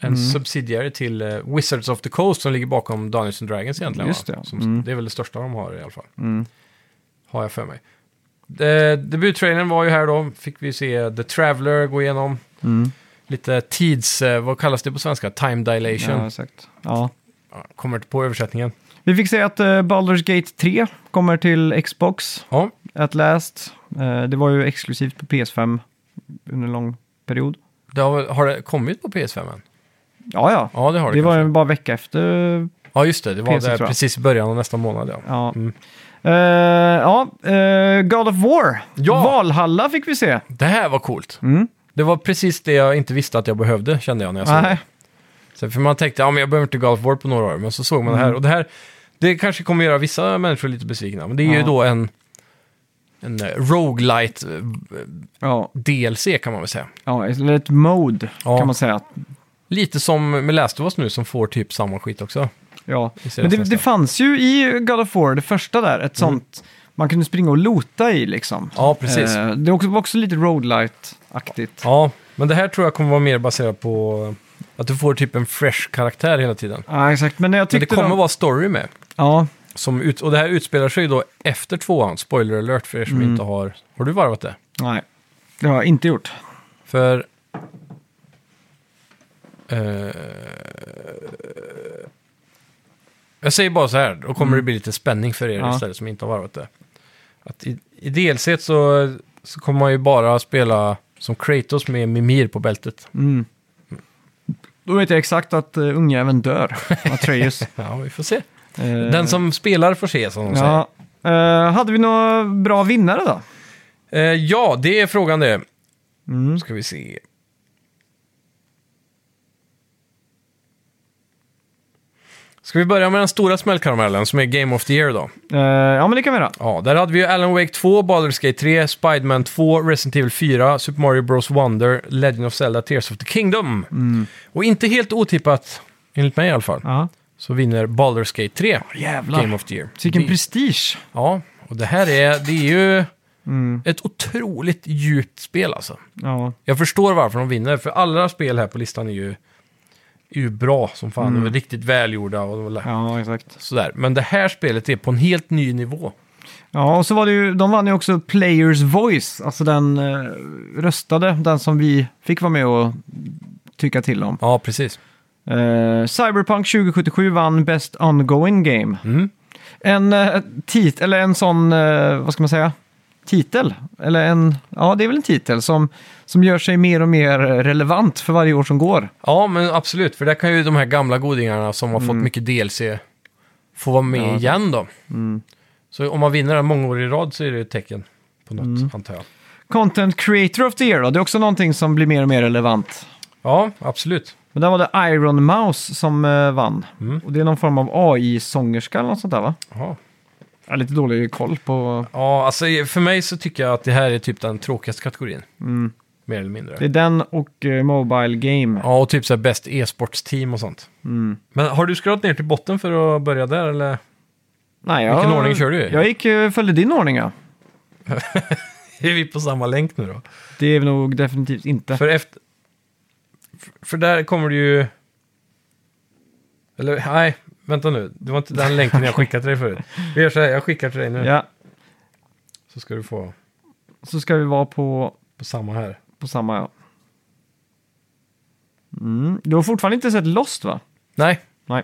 A: en
B: Mm.
A: subsidiary till eh, Wizards of the Coast som ligger bakom Dungeons and Dragons egentligen.
B: Just
A: va?
B: det, ja.
A: Som,
B: Mm.
A: Det är väl det största de har i alla fall.
B: Mm.
A: Har jag för mig. Eh, debuttrailern var ju här då. Fick vi se The Traveler gå igenom.
B: Ja. Mm.
A: Lite tids... Eh, vad kallas det på svenska? Time dilation.
B: Ja, exakt. Ja.
A: Ja, Kommer inte på översättningen.
B: Vi fick se att eh, Baldur's Gate 3 kommer till Xbox
A: Ja,
B: at last. Eh, det var ju exklusivt på PS5 under en lång period.
A: det har, väl- har det kommit på PS5 än?
B: Ja, ja.
A: Ja, det har det.
B: det var
A: kanske.
B: ju bara vecka efter.
A: Ja, just det. Det var
B: PC,
A: där
B: tror jag.
A: precis i början av nästa månad. Ja.
B: Ja.
A: Mm.
B: Eh, ja, eh, God of War.
A: Ja!
B: Valhalla fick vi se.
A: Det här var coolt.
B: Mm.
A: Det var precis det jag inte visste att jag behövde, kände jag när jag såg det.
B: Nej.
A: Så för man tänkte, ja men jag behöver inte Golf War på några år, men så såg man
B: Mm.
A: det här. Och det här, det kanske kommer göra vissa människor lite besvikna, men det är ju
B: Ja.
A: då en, en eh, roguelite eh,
B: Ja.
A: DLC kan man väl säga.
B: Ja, eller ett mode
A: Ja.
B: kan man säga.
A: Lite som med Last of Us nu som får typ samma skit också.
B: Ja.
A: Vi ser
B: Men det,
A: nästa.
B: det fanns ju i God of War, det första där, ett sånt man kunde springa och lota i liksom.
A: Mm. Ja, precis.
B: Eh, det var också, var också lite roadlight-aktigt.
A: Ja, men det här tror jag kommer vara mer baserat på att du får typ en fresh karaktär hela tiden.
B: Ja, exakt. Men jag
A: Men det
B: tyckte
A: kommer
B: de...
A: vara story med.
B: Ja,
A: Som ut, och det här utspelar sig ju då efter tvåan, spoiler alert för er
B: Mm.
A: som inte har... Har du varvat det?
B: nej. Det har jag inte gjort.
A: För... Eh, jag säger bara så här, då kommer det bli lite spänning för er
B: Mm. Ja.
A: istället som inte har varvat det. Att i, I DLC t så, så kommer man ju bara spela som Kratos med Mimir på bältet.
B: Mm. Då vet jag exakt att uh, ungjäveln dör, Atreus.
A: Ja, vi får se.
B: Eh,
A: Den som spelar får se, som de säger.
B: Ja. Eh, hade vi några bra vinnare då?
A: Eh, ja, det är frågan det.
B: Mm.
A: ska vi se. Ska vi börja med den stora smällkaramellen som är Game of the Year då?
B: Eh, ja, men det kan vi göra.
A: Ja, där hade vi ju Alan Wake 2, Baldur's Gate 3, Spiderman 2, Resident Evil 4, Super Mario Bros Wonder, Legend of Zelda, Tears of the Kingdom. Och inte helt otippat, enligt mig i alla fall,
B: Mm. Ja.
A: så vinner Baldur's Gate 3
B: Jävlar.
A: Game of the Year.
B: Så Vilken
A: Det-
B: prestige. Mm.
A: Ja, och det här är, det är ju ett otroligt djupt spel alltså.
B: Ja.
A: Jag förstår varför de vinner, för alla spel här på listan är ju, är ju bra som fan. De är riktigt välgjorda och de är lä-
B: ja, exakt.
A: sådär. Men det här spelet är på en helt ny nivå.
B: Ja, och så var det ju, de vann ju också Players Voice, alltså den eh, röstade, den som vi fick vara med och tycka till om.
A: Ja, precis.
B: Eh, Cyberpunk 2077 vann Best Ongoing Game.
A: Mm.
B: En eh, tit eller en sån, eh, vad ska man säga, titel? Eller en, ja det är väl en titel som, som gör sig mer och mer relevant för varje år som går.
A: Ja, men absolut. För där kan ju de här gamla godingarna som har fått mycket DLC få vara med igen då. Så om man vinner den många år i rad så är det ett tecken på något, antar jag.
B: Content Creator of the Year då, det är också någonting som blir mer och mer relevant.
A: Ja, absolut.
B: Men där var det Iron Mouse som eh, vann.
A: Mm.
B: Och det är någon form av AI-sångerska eller något sånt där va?
A: Jaha.
B: Jag har lite dålig koll på...
A: Ja, alltså för mig så tycker jag att det här är typ den tråkigaste kategorin.
B: Mm.
A: Mer eller mindre.
B: Det är den och eh, Mobile Game.
A: Ja, och typ så här bäst e-sportsteam och sånt.
B: Mm.
A: Men har du skrollat ner till botten för att börja där eller?
B: Nej, jag,
A: Vilken ordning kör du i?
B: Jag gick, eh, följde din ordning ja.
A: Är vi på samma länk nu då?
B: Det är vi nog definitivt inte.
A: För efter... för- För där kommer du ju... Eller nej, vänta nu. Det var inte den länken jag skickade till dig förut. Vi gör så här, jag skickar till dig nu.
B: Ja,
A: Så ska du få
B: så ska vi vara på,
A: på samma här.
B: på samma ja. Mm. Du har fortfarande inte sett Lost va?
A: Nej,
B: Nej.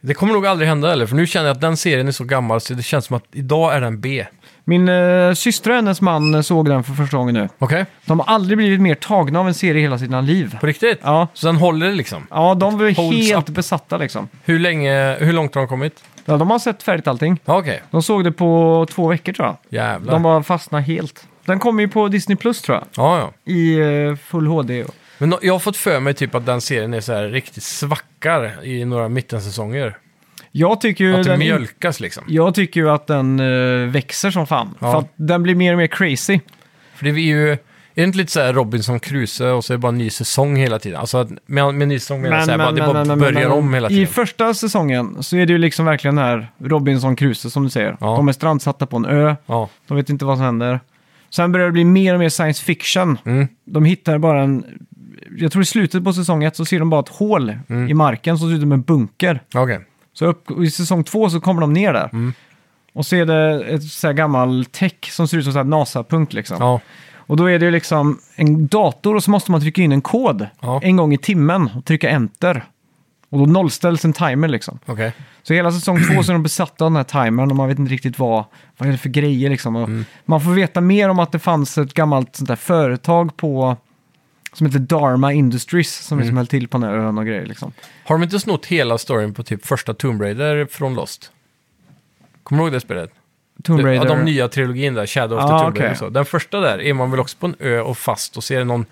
A: det kommer nog aldrig hända heller. För nu känner jag att den serien är så gammal så det känns som att idag är den B.
B: Min eh, syster och hennes man eh, såg den för första gången nu.
A: Okej?
B: De har aldrig blivit mer tagna av en serie i hela sina liv.
A: På riktigt?
B: Ja,
A: Så den håller liksom?
B: ja de var ju
A: Holds
B: helt besatta liksom.
A: Hur, länge, hur långt har de kommit?
B: Ja, de har sett färdigt allting.
A: Ja, Okej,
B: De såg det på två veckor tror jag.
A: jävlar.
B: De bara fastnade helt. Den kommer ju på Disney Plus tror jag.
A: Ja, ja.
B: I eh, full HD. och-
A: Men nå- jag har fått för mig typ att den serien är så här riktigt svackar i några mittensäsonger.
B: Jag tycker ju
A: Att det
B: den
A: mjölkas liksom.
B: Jag tycker ju att den eh, växer som fan.
A: Ja.
B: För att den blir mer och mer crazy.
A: För det är ju... Är det inte lite så här Robinson Crusoe och så är det bara en ny säsong hela tiden? Alltså att med, med ny säsong menar jag så här, bara, det bara börjar om hela
B: I
A: tiden.
B: första säsongen så är det ju liksom verkligen den här Robinson Crusoe som du säger.
A: Ja.
B: De är strandsatta på en ö,
A: Ja.
B: de vet inte vad som händer. Sen börjar det bli mer och mer science fiction.
A: Mm.
B: De hittar bara en... Jag tror i slutet på säsong ett så ser de bara ett hål
A: Mm.
B: i marken som ser ut som en bunker.
A: Okej.
B: Så upp, i säsong två så kommer de ner där.
A: Mm.
B: Och så är det ett så här gammal tech som ser ut som så här NASA-punkt liksom.
A: Ja.
B: Och då är det ju liksom en dator och så måste man trycka in en kod
A: Ja.
B: en gång i timmen och trycka enter. Och då nollställs en timer liksom.
A: Okej.
B: Så hela säsong två så är de besatta av den här timern och man vet inte riktigt vad, vad är det för grejer liksom. Och
A: Mm.
B: Man får veta mer om att det fanns ett gammalt sånt där företag på som heter Dharma Industries som
A: Mm.
B: liksom höll till på den här ön och grejer liksom.
A: Har de inte snott hela storyn på typ första Tomb Raider från Lost? Kommer du ihåg det spelet?
B: Tomb
A: Ja,
B: Raider.
A: de nya trilogin där, Shadow of the
B: Ah,
A: Tomb Raider
B: okej.
A: och så. Den första där är man väl också på en ö och fast och ser någon,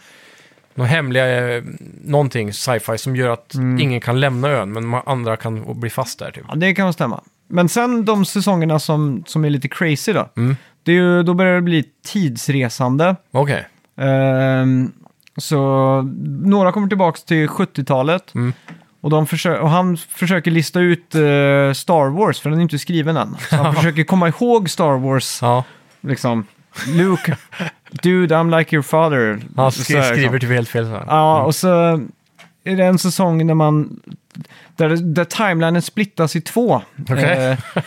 A: någon hemliga, eh, någonting sci-fi som gör att
B: Mm.
A: ingen kan lämna ön men ma- andra kan bli fast där typ.
B: Ja, det kan stämma. Men sen de säsongerna som, som är lite crazy då.
A: Mm.
B: Det är ju, då börjar det bli tidsresande.
A: Okej,
B: Ehm, så några kommer tillbaka till 70-talet.
A: Mm.
B: Och, de försö- och han försöker lista ut eh, Star Wars, för den är inte skriven än. Så han försöker komma ihåg Star Wars,
A: ja.
B: liksom. Luke, dude I'm like your father.
A: Han
B: Så här,
A: skri-
B: liksom.
A: skriver typ helt fel så här.
B: Ja, och så är det en säsong när man... Där, där timelinen splittas i två.
A: Okej.
B: Eh,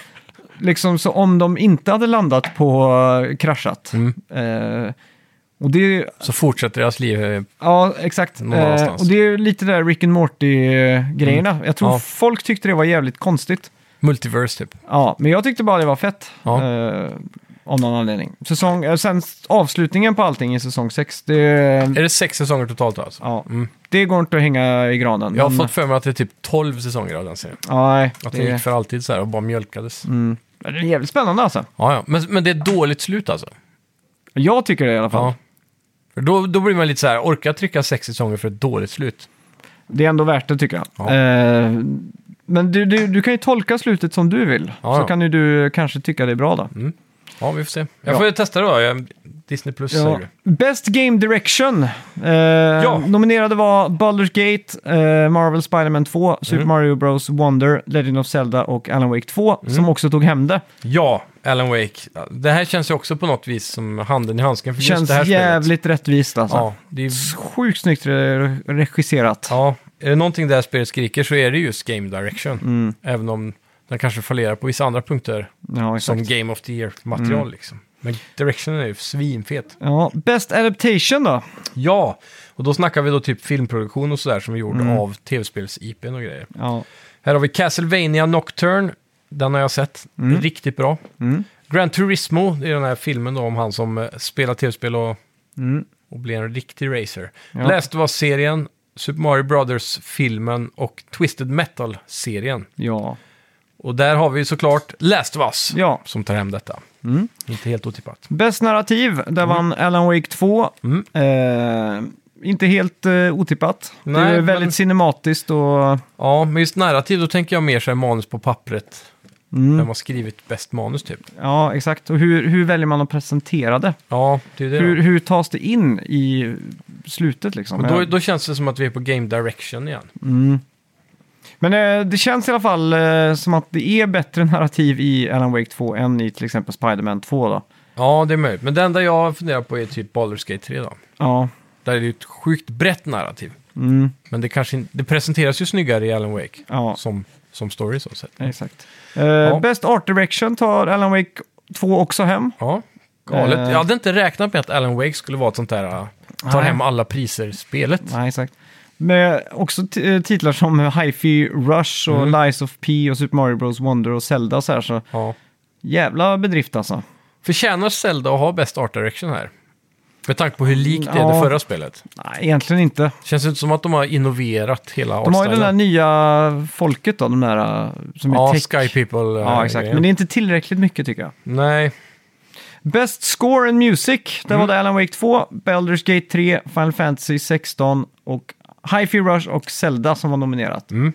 B: liksom så om de inte hade landat på eh, kraschat. Eh, och det är
A: Mm. Så fortsätter deras liv. eh,
B: Ja, exakt.
A: Någon
B: Eh,
A: annanstans.
B: och det är ju lite där Rick and Morty-grejerna. Jag tror
A: Mm. Ja.
B: folk tyckte det var jävligt konstigt.
A: Multiverse typ.
B: Ja, men jag tyckte bara det var fett.
A: Ja.
B: Eh, av någon anledning. Säsong, eh, sen s- avslutningen på allting i säsong 6, det,
A: Är det sex säsonger totalt alltså?
B: ja,
A: Mm.
B: det går inte att hänga i granen.
A: Jag har
B: Ah, men-
A: fått för mig att det är typ 12 säsonger av den serien.
B: Ja, nej,
A: Att den
B: det,
A: gick för alltid så här och bara mjölkades.
B: mm. Men det är jävligt spännande alltså.
A: Ja, ja. Men, men det är ett dåligt slut alltså.
B: Jag tycker det i alla fall.
A: Ja. För Då, då blir man lite så här, orkar jag trycka sex säsonger för ett dåligt slut?
B: Det är ändå värt det tycker jag.
A: Ja.
B: Eh, Men du, du, du kan ju tolka slutet som du vill.
A: Ja,
B: så
A: ja.
B: kan ju du kanske tycka det är bra då.
A: Ja, vi får se. Jag
B: Ja.
A: får testa det då. Jag- Disney Plus säger du.
B: Best Game Direction. Eh, Nominerade var Baldur's Gate, eh, Marvel Spider-Man 2,
A: Mm.
B: Super Mario Bros Wonder, Legend of Zelda och Alan Wake 2,
A: Mm.
B: som också tog hem det.
A: Ja, Alan Wake. Det här känns ju också på något vis som handen i handsken för just
B: Känns
A: det här spelet.
B: jävligt rättvist alltså.
A: Ja, det är,
B: Sjukt snyggt re- regisserat.
A: ja, är det någonting det här spelet skriker så är det just Game Direction.
B: Mm.
A: Även om den kanske fallerar på vissa andra punkter
B: Ja, exakt.
A: som Game of the Year-material liksom. Men Direction är ju svinfet.
B: Ja, Best Adaptation då?
A: Ja, och då snackar vi då typ filmproduktion och sådär som är gjord av tv-spels-IPn och grejer.
B: Ja.
A: Här har vi Castlevania Nocturne. Den har jag sett. Riktigt bra.
B: Mm.
A: Gran Turismo, det är den här filmen då om han som eh, spelar tv-spel och,
B: Mm.
A: och blir en riktig racer.
B: Ja.
A: Läste var serien, Super Mario Brothers-filmen och Twisted Metal-serien.
B: Ja.
A: Och där har vi ju såklart Last of Us
B: ja.
A: som tar hem detta. Inte helt otippat.
B: Bäst narrativ, där vann Alan Wake 2.
A: Mm.
B: Eh, inte helt eh, otippat. det
A: Nej,
B: är
A: men-
B: väldigt cinematiskt och...
A: Ja, men just narrativ, då tänker jag mer så här manus på pappret.
B: Mm.
A: Vem har skrivit bäst manus typ?
B: Ja, exakt. Och hur, hur väljer man att presentera det?
A: Ja, det är ju det.
B: Hur,
A: då.
B: hur tas det in i slutet liksom?
A: Och då, då känns det som att vi är på Game Direction igen.
B: Mm. Men eh, det känns i alla fall eh, som att det är bättre narrativ i Alan Wake 2 än i till exempel Spider-Man 2 då.
A: Ja, det är möjligt. Men det enda jag funderar på är typ Baldur's Gate 3 då.
B: Ja.
A: Där är det ju ett sjukt brett narrativ.
B: Mm.
A: Men det, kanske in, det presenteras ju snyggare i Alan Wake
B: Ja,
A: som, som story så sett.
B: exakt. Eh, Best Art Direction tar Alan Wake 2 också hem.
A: Ja, galet.
B: Eh.
A: Jag hade inte räknat med att Alan Wake skulle vara ett sånt där äh, tar
B: Nej.
A: hem alla priser-spelet.
B: Nej, exakt. Med också t- eh, titlar som Hi-Fi Rush och
A: Mm.
B: Lies of P och Super Mario Bros Wonder och Zelda och så här. Så
A: Ja.
B: jävla bedrift alltså.
A: Förtjänar Zelda att ha bäst art direction här? Med tanke på hur likt det är det
B: Ja.
A: förra spelet.
B: Nej, egentligen inte.
A: Känns det inte som att de har innoverat hela
B: De har ju det där
A: artstylen?
B: nya folket då, de där eh, som är
A: Ja,
B: tech.
A: Sky People. äh,
B: Ja, exakt.
A: grejen.
B: Men det är inte tillräckligt mycket tycker jag.
A: Nej,
B: Best Score and Music,
A: Mm.
B: där var det Alan Wake 2, Baldur's Gate 3, Final Fantasy 16 och Hi-Fi Rush och Zelda som var nominerat.
A: Mm.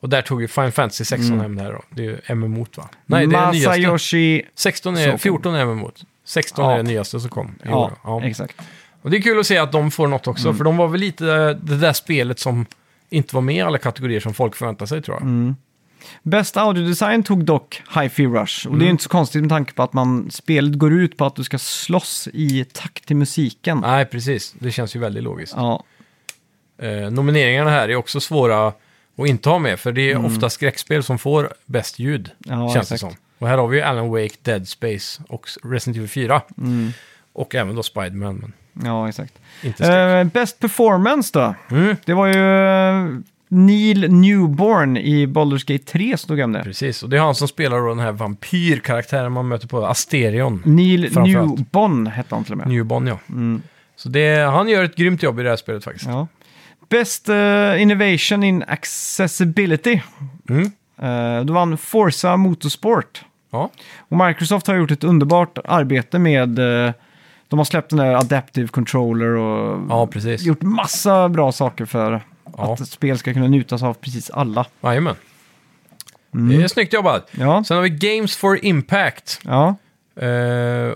A: och där tog ju Final Fantasy 16
B: Mm.
A: hem det här då. Det är ju MMO va? Nej, det är det nyaste.
B: Masayoshi...
A: 16
B: Så
A: är,
B: kom.
A: 14 är MMO. 16
B: Ja.
A: är det nyaste som kom. i
B: Ja,
A: år. Ja.
B: exakt.
A: Och det är kul att se att de får något
B: Mm.
A: också, för de var väl lite eh, det där spelet som inte var med i alla kategorier som folk förväntade sig tror jag.
B: Mm. Bäst audiodesign tog dock Hi-Fi Rush. Och det
A: Mm.
B: är inte så konstigt med tanke på att man, spelet går ut på att du ska slåss i takt till musiken.
A: Nej, precis. Det känns ju väldigt logiskt.
B: Ja,
A: Eh, nomineringarna här är också svåra att inte ha med, för det är ofta skräckspel som får bäst ljud,
B: Mm. Ja,
A: känns det
B: exakt.
A: som. Och här har vi ju Alan Wake, Dead Space och Resident Evil 4. Och även då Spiderman, men
B: ja exakt.
A: inte skräck.
B: Mm. Eh, bäst performance då?
A: Mm.
B: Det var ju eh, Neil Newborn i Baldur's Gate 3 som tog hem det.
A: Precis, och det är han som spelar då den här vampyrkaraktären man möter på Asterion.
B: Neil
A: Framförallt.
B: Newborn hette han till och med.
A: Newborn, ja. Så det, han gör ett grymt jobb i det här spelet faktiskt.
B: Mm. Ja. Best eh, Innovation in Accessibility.
A: Mm.
B: Uh, då vann Forza Motorsport.
A: Ja.
B: Och Microsoft har gjort ett underbart arbete med... eh, de har släppt den där Adaptive Controller och
A: Ja, precis.
B: gjort massa bra saker för
A: Ja.
B: att ett spel ska kunna njutas av precis alla.
A: Jajamän. Det är snyggt jobbat.
B: Mm. Ja,
A: Sen har vi Games for Impact.
B: ja.
A: Eh,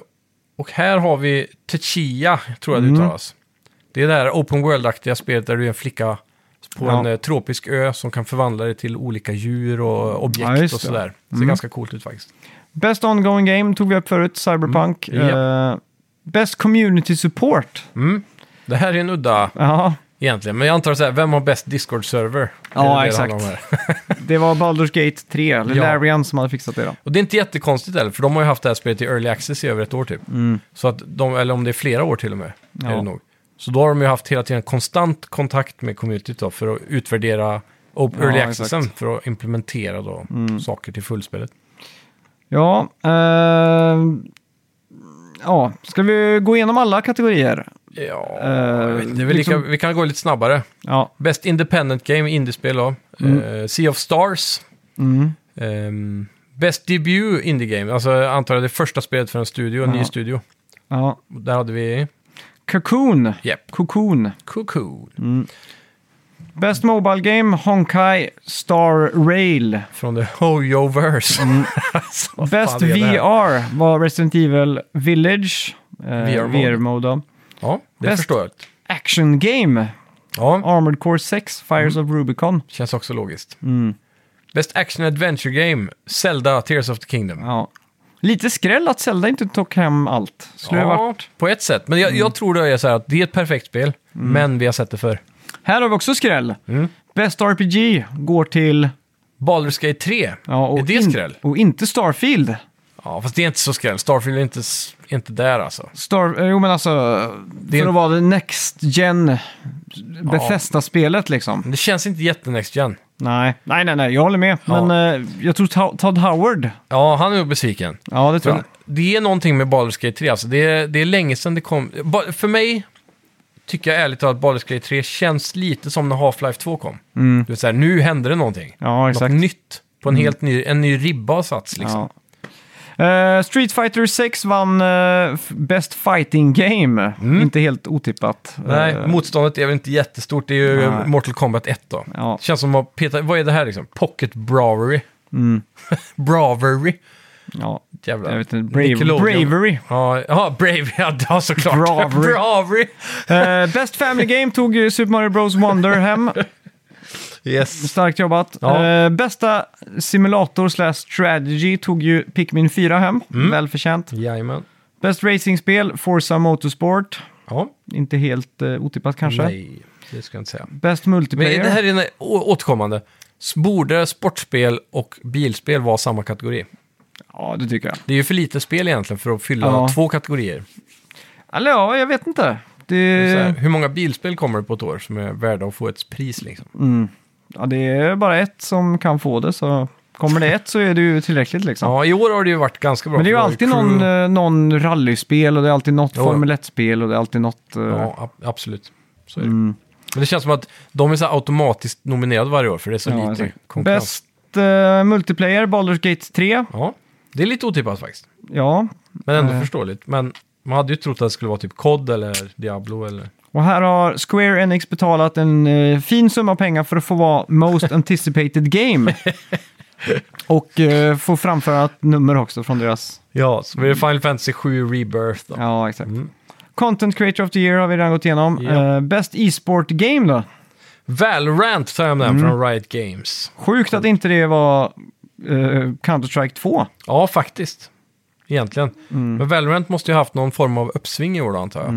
A: och här har vi Techia, tror
B: Mm.
A: jag det uttalas. Det är det här open world-aktiga spelet där du är en flicka på
B: Ja.
A: en eh, tropisk ö som kan förvandla dig till olika djur och objekt
B: Ja,
A: och
B: just det. Mm.
A: sådär. Det ser ganska coolt ut faktiskt.
B: Best Ongoing Game tog vi upp förut, Cyberpunk.
A: Mm,
B: Eh, Best Community Support.
A: Mm. Det här är en udda
B: Ja,
A: egentligen, men jag antar så här, vem har bäst Discord-server?
B: Ja,
A: Det är det det
B: exakt.
A: handlar om här.
B: det var Baldur's Gate 3, eller
A: Ja.
B: Larian som hade fixat det då.
A: Och det är inte jättekonstigt heller, för de har ju haft det här spelet i early access i över ett år typ. Så att de, eller om det är flera år till och med, är
B: Mm. Ja.
A: det nog. Så då har de ju haft hela tiden konstant kontakt med communityt då, för att utvärdera op-
B: Ja, exakt.
A: early
B: Mm.
A: accessen, för att implementera då saker till fullspelet.
B: Ja, eh, ja, ska vi gå igenom alla kategorier?
A: Ja,
B: Eh,
A: jag vet inte, det är väl lika,
B: liksom-
A: vi kan gå lite snabbare.
B: Ja,
A: Best Independent Game, Indiespel då. Eh, sea of Stars.
B: mm,
A: Ehm, Best Debut Indie Game, alltså jag antar jag det första spelet för en studio, en ny
B: Ja.
A: studio.
B: ja.
A: Där hade vi,
B: Cocoon.
A: Japp.
B: Cocoon.
A: Cocoon.
B: Best Mobile Game, Honkai Star Rail.
A: Från the Hoyoverse.
B: Mm.
A: Alltså,
B: Best
A: fan är det här?
B: VR var Resident Evil Village. Eh,
A: VR-mode.
B: VR-mode. ja.
A: Ja, det
B: Best-
A: förstår jag.
B: Action Game,
A: Ja,
B: Armored Core 6, Fires
A: Mm.
B: of Rubicon.
A: känns också logiskt.
B: Mm.
A: Best Action Adventure Game, Zelda Tears of the Kingdom.
B: Ja. Lite skräll att Zelda inte tog hem allt. Skulle det varit. Mm.
A: på ett sätt. Men jag, jag tror det är så här att det är ett perfekt spel, men vi har sett det för.
B: Här har vi också skräll.
A: Mm.
B: Best RPG går till...
A: Baldur's Gate 3,
B: Ja, och
A: är det
B: in-
A: skräll?
B: Och inte Starfield.
A: Ja, fast det är inte så skräll. Starfield är inte, s- inte där alltså.
B: Star, eh, jo men alltså,
A: Det är-
B: för att vara det next gen Bethesda-spelet liksom.
A: Men Det känns inte jättenext gen.
B: Nej. nej, nej, nej, jag håller med.
A: Ja.
B: Men eh, jag tror Ta- Todd Howard,
A: Ja, han är nog besviken.
B: ja det tror
A: Men
B: jag.
A: det är någonting med Baldur's Gate 3, alltså. det, är, det är länge sedan det kom. Ba- För mig tycker jag ärligt talat att Baldur's Gate 3 känns lite som när Half-Life 2 kom.
B: Mm.
A: Du vet, så här, nu hände det någonting.
B: Ja, exakt. Mm.
A: Något nytt. På en helt ny, en ny ribba har satts liksom.
B: Ja. Eh, Street Fighter 6 vann eh, f- Best Fighting Game. Inte helt otippat.
A: Mm. Nej,
B: Eh,
A: motståndet är väl inte jättestort. Det är ju
B: Nej.
A: Mortal Kombat 1 då.
B: Ja.
A: Känns som att peta, vad är det här liksom? Pocket bravery. bravery.
B: ja,
A: Jävlar.
B: Mm. jag vet inte. Brave,
A: Nickelodeon.
B: bravery.
A: Ja, ja, bravery. Ja, det- ja, såklart.
B: Bravery.
A: bravery.
B: Eh, Best Family Game tog ju Super Mario Bros Wonder hem.
A: Yes.
B: Starkt jobbat.
A: Ja.
B: Eh, bästa simulator slash strategy tog ju Pikmin 4 hem.
A: Mm.
B: Välförtjänt.
A: Jajamän.
B: Bäst racingspel, Forza Motorsport.
A: Ja.
B: Inte helt eh, otippat kanske.
A: Nej, det ska jag inte säga.
B: Bäst
A: Men
B: multiplayer.
A: det här är en å- återkommande. S- Borde sportspel och bilspel vara samma kategori?
B: Ja, det tycker jag.
A: Det är ju för lite spel egentligen för att fylla
B: Ja.
A: två kategorier.
B: Eller ja, jag vet inte.
A: Så här,
B: Det,
A: hur många bilspel kommer det på ett år som är värda att få ett pris liksom?
B: ja, det är bara ett som kan få det, så kommer det ett så är det ju tillräckligt liksom.
A: Ja, i år har det ju varit ganska bra.
B: Men det är ju
A: för
B: alltid
A: crew-
B: någon, eh, någon rallyspel och det är alltid något
A: Jo.
B: Formel 1-spel och det är alltid något... eh, Mm.
A: Ja, ab- absolut. Så är det. Men det känns som att de är så här automatiskt nominerade varje år för det är så
B: ja,
A: lite
B: exakt.
A: konkurrens.
B: Bäst eh, multiplayer, Baldur's Gate 3.
A: Ja, det är lite otippat faktiskt.
B: Ja,
A: Men ändå
B: Nej.
A: förståeligt. Men man hade ju trott att det skulle vara typ COD eller Diablo eller...
B: och här har Square Enix betalat en eh, fin summa pengar för att få vara Most Anticipated Game. och eh, få framföra ett nummer också från deras...
A: Ja, så blir det Final Fantasy 7 Rebirth då.
B: Ja, exakt. Content Creator of the Year har vi redan gått igenom.
A: Mm. Ja.
B: Eh, Bäst e-sport game då?
A: Valorant tar jag
B: Mm.
A: med den från Riot Games.
B: Sjukt att inte det var eh, Counter-Strike 2.
A: Ja, faktiskt. Egentligen.
B: Mm.
A: Men Valorant måste ju ha haft någon form av uppsving i år då, antar jag.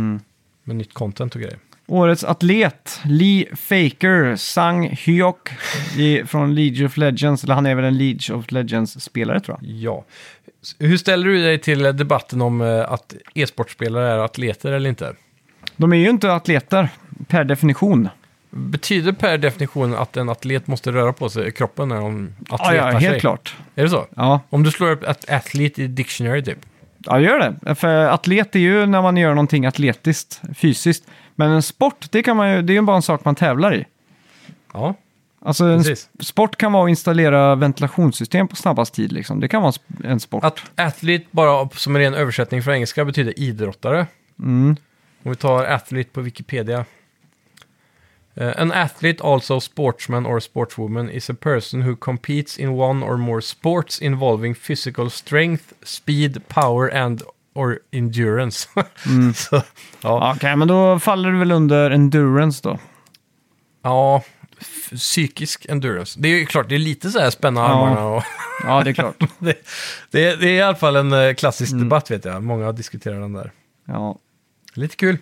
A: Med nytt content och grejer.
B: Årets atlet, Lee Faker Sang Hyok i- från League of Legends. Eller han är väl en League of Legends-spelare tror jag.
A: Ja. S- Hur ställer du dig till eh, debatten om eh, att e-sportspelare är atleter eller inte?
B: De är ju inte atleter per definition.
A: Betyder per definition att en atlet måste röra på sig i kroppen när de atletar
B: Ja, ja, helt
A: sig?
B: klart.
A: Är det så?
B: Ja.
A: Om du slår upp at- athlete i dictionary typ?
B: ja, gör det. För atlet är ju när man gör någonting atletiskt, fysiskt. Men en sport, det, kan man ju, det är ju bara en sak man tävlar i.
A: Ja,
B: Alltså en
A: Precis.
B: sp- sport kan vara att installera ventilationssystem på snabbast tid. Liksom. Det kan vara en sp- en sport.
A: Att athlete bara som en ren översättning från engelska betyder idrottare. Om vi tar athlete på Wikipedia. Eh, an athlete, also sportsman or sportswoman, is a person who competes in one or more sports involving physical strength, speed, power and or endurance. Så, ja.
B: Ja, Okej, men då faller du väl under endurance då?
A: ja, f- psykisk endurance. Det är ju klart, det är lite så här spänna armarna och...
B: Ja, det är klart.
A: det, det, är, det är i alla fall en eh, klassisk debatt vet jag. Många diskuterar den där.
B: ja,
A: Lite kul.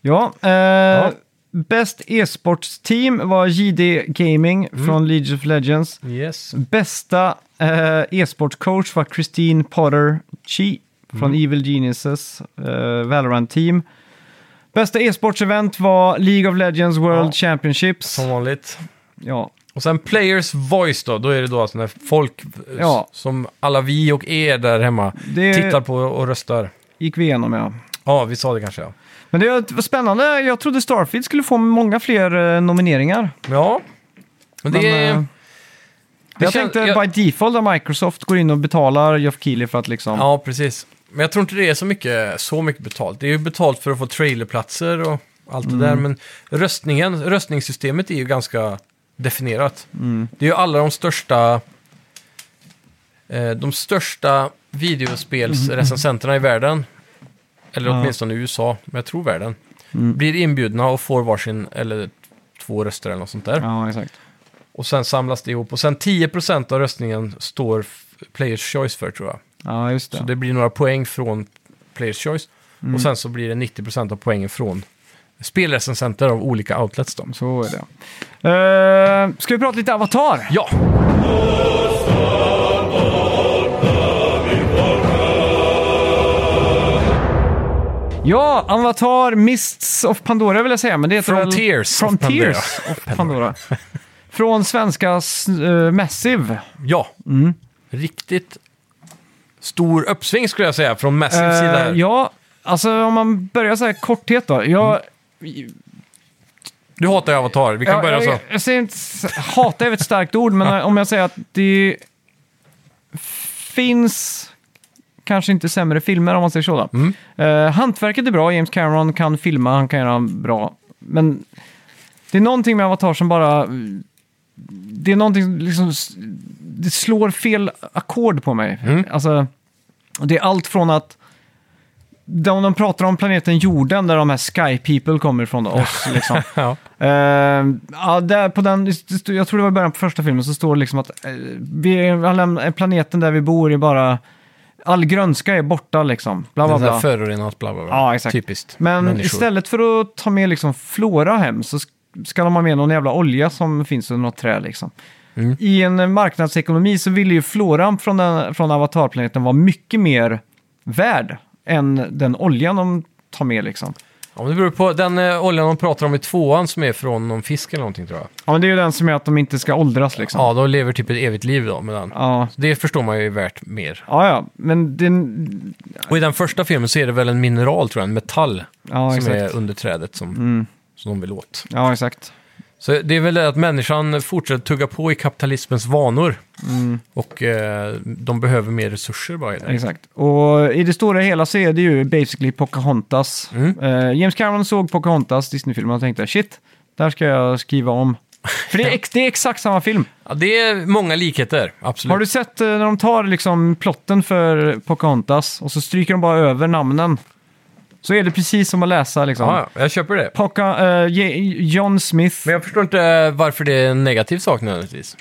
B: ja, eh, Bäst e-sportsteam var JD Gaming från League of Legends.
A: Yes.
B: Mm. Bästa eh, e-sportcoach var Christine Potter Chi från Evil Geniuses eh, Valorant-team. Bästa e-sportsevent var League of Legends World
A: Ja.
B: Championships.
A: Som vanligt.
B: Ja,
A: Och sen Players Voice då, då är det då alltså när folk eh,
B: Ja. Eh.
A: s- som alla vi och er där hemma
B: Det-
A: tittar på och röstar.
B: gick vi igenom ja.
A: Ja, vi sa det kanske ja.
B: Men det var spännande. Jag trodde Starfield skulle få många fler eh, nomineringar.
A: Ja, men det
B: Men, eh,
A: är... det
B: jag
A: kän-
B: tänkte
A: jag-
B: by default att Microsoft går in och betalar Geoff Keighley för att liksom...
A: Ja, precis. Men jag tror inte det är så mycket, så mycket betalt. Det är ju betalt för att få trailerplatser och allt det
B: Mm.
A: där. Men röstningen, röstningssystemet är ju ganska definierat.
B: Mm.
A: Det är ju alla de största eh, de största videospelsrecensenterna i världen, eller
B: Ja.
A: åtminstone i USA, men jag tror världen,
B: Mm.
A: blir inbjudna och får varsin eller två röster eller något sånt där.
B: Ja, exakt.
A: Och sen samlas det ihop och sen 10% av röstningen står f- Players Choice för tror jag.
B: Ja, just det.
A: Så det blir några poäng från Players Choice
B: Mm.
A: och sen så blir det 90% av poängen från spelrecensenter av olika outlets då.
B: Så är det. Uh, ska vi prata lite Avatar?
A: Ja,
B: Ja, Avatar Mists of Pandora vill jag säga, men det heter
A: Frontiers
B: väl...
A: of Pandora.
B: Frontiers of Pandora. Från svenska uh, Massive.
A: ja.
B: Mm.
A: Riktigt stor uppsving skulle jag säga från Massive
B: Eh,
A: sida. här.
B: ja, alltså om man börjar så här korthet då. Jag,
A: Du hatar ju Avatar, vi kan
B: jag,
A: börja
B: jag,
A: så.
B: jag, säger inte... Hata är väl ett starkt ord, men eh, om jag säger att det finns kanske inte sämre filmer om man säger så. Då.
A: Mm.
B: Eh, hantverket är bra, James Cameron kan filma, han kan göra bra. Men det är någonting med Avatar som bara... Det är någonting som liksom... s- Det slår fel ackord på mig.
A: Mm.
B: Alltså, det är allt från att... De, de pratar om planeten jorden där de här Sky People kommer ifrån, då, oss liksom.
A: Ja.
B: Eh, ja, där på den, det stod- jag tror det var i början på första filmen, så står det liksom att eh, vi, har lämnat- planeten där vi bor är bara... All grönska är borta liksom. Bla, bla,
A: Den där
B: bla.
A: förorenat bla bla bla.
B: Ja, exakt.
A: Typiskt
B: Men
A: människor.
B: istället för att ta med liksom flora hem så sk- ska de ha med någon jävla olja som finns under något träd. Liksom.
A: Mm.
B: I en eh, marknadsekonomi så ville ju floran från, den, från avatarplaneten vara mycket mer värd än den oljan de tar med. Liksom.
A: Ja, men det beror på. Den eh, oljan de pratar om i tvåan som är från någon fisk eller någonting tror jag.
B: Ja, men det är ju den som gör att de inte ska åldras. Liksom.
A: Ja, de lever typ ett evigt liv då med den.
B: Ja.
A: Så Det förstår man ju är värt mer.
B: Ja, ja, men den...
A: Och i den första filmen så är det väl en mineral tror jag, en metall
B: Ja,
A: som
B: exakt. Mm.
A: är under trädet som, som de vill åt.
B: Ja, exakt.
A: Så det är väl det att människan fortsätter tugga på i kapitalismens vanor.
B: Mm.
A: Och eh, de behöver mer resurser bara. i det.
B: Exakt. Och i det stora hela så är det ju basically Pocahontas.
A: Mm.
B: Eh, James Cameron såg Pocahontas, Disney-filmen, och tänkte shit, där ska jag skriva om. För det är, ex- det är exakt samma film.
A: Ja, det är många likheter, absolut.
B: Har du sett eh, när de tar liksom plotten för Pocahontas och så stryker de bara över namnen? Så är det precis som att läsa liksom.
A: Ja, ja, jag köper det.
B: Poca, eh, J- John Smith.
A: Men jag förstår inte varför det är en negativ sak nödvändigtvis.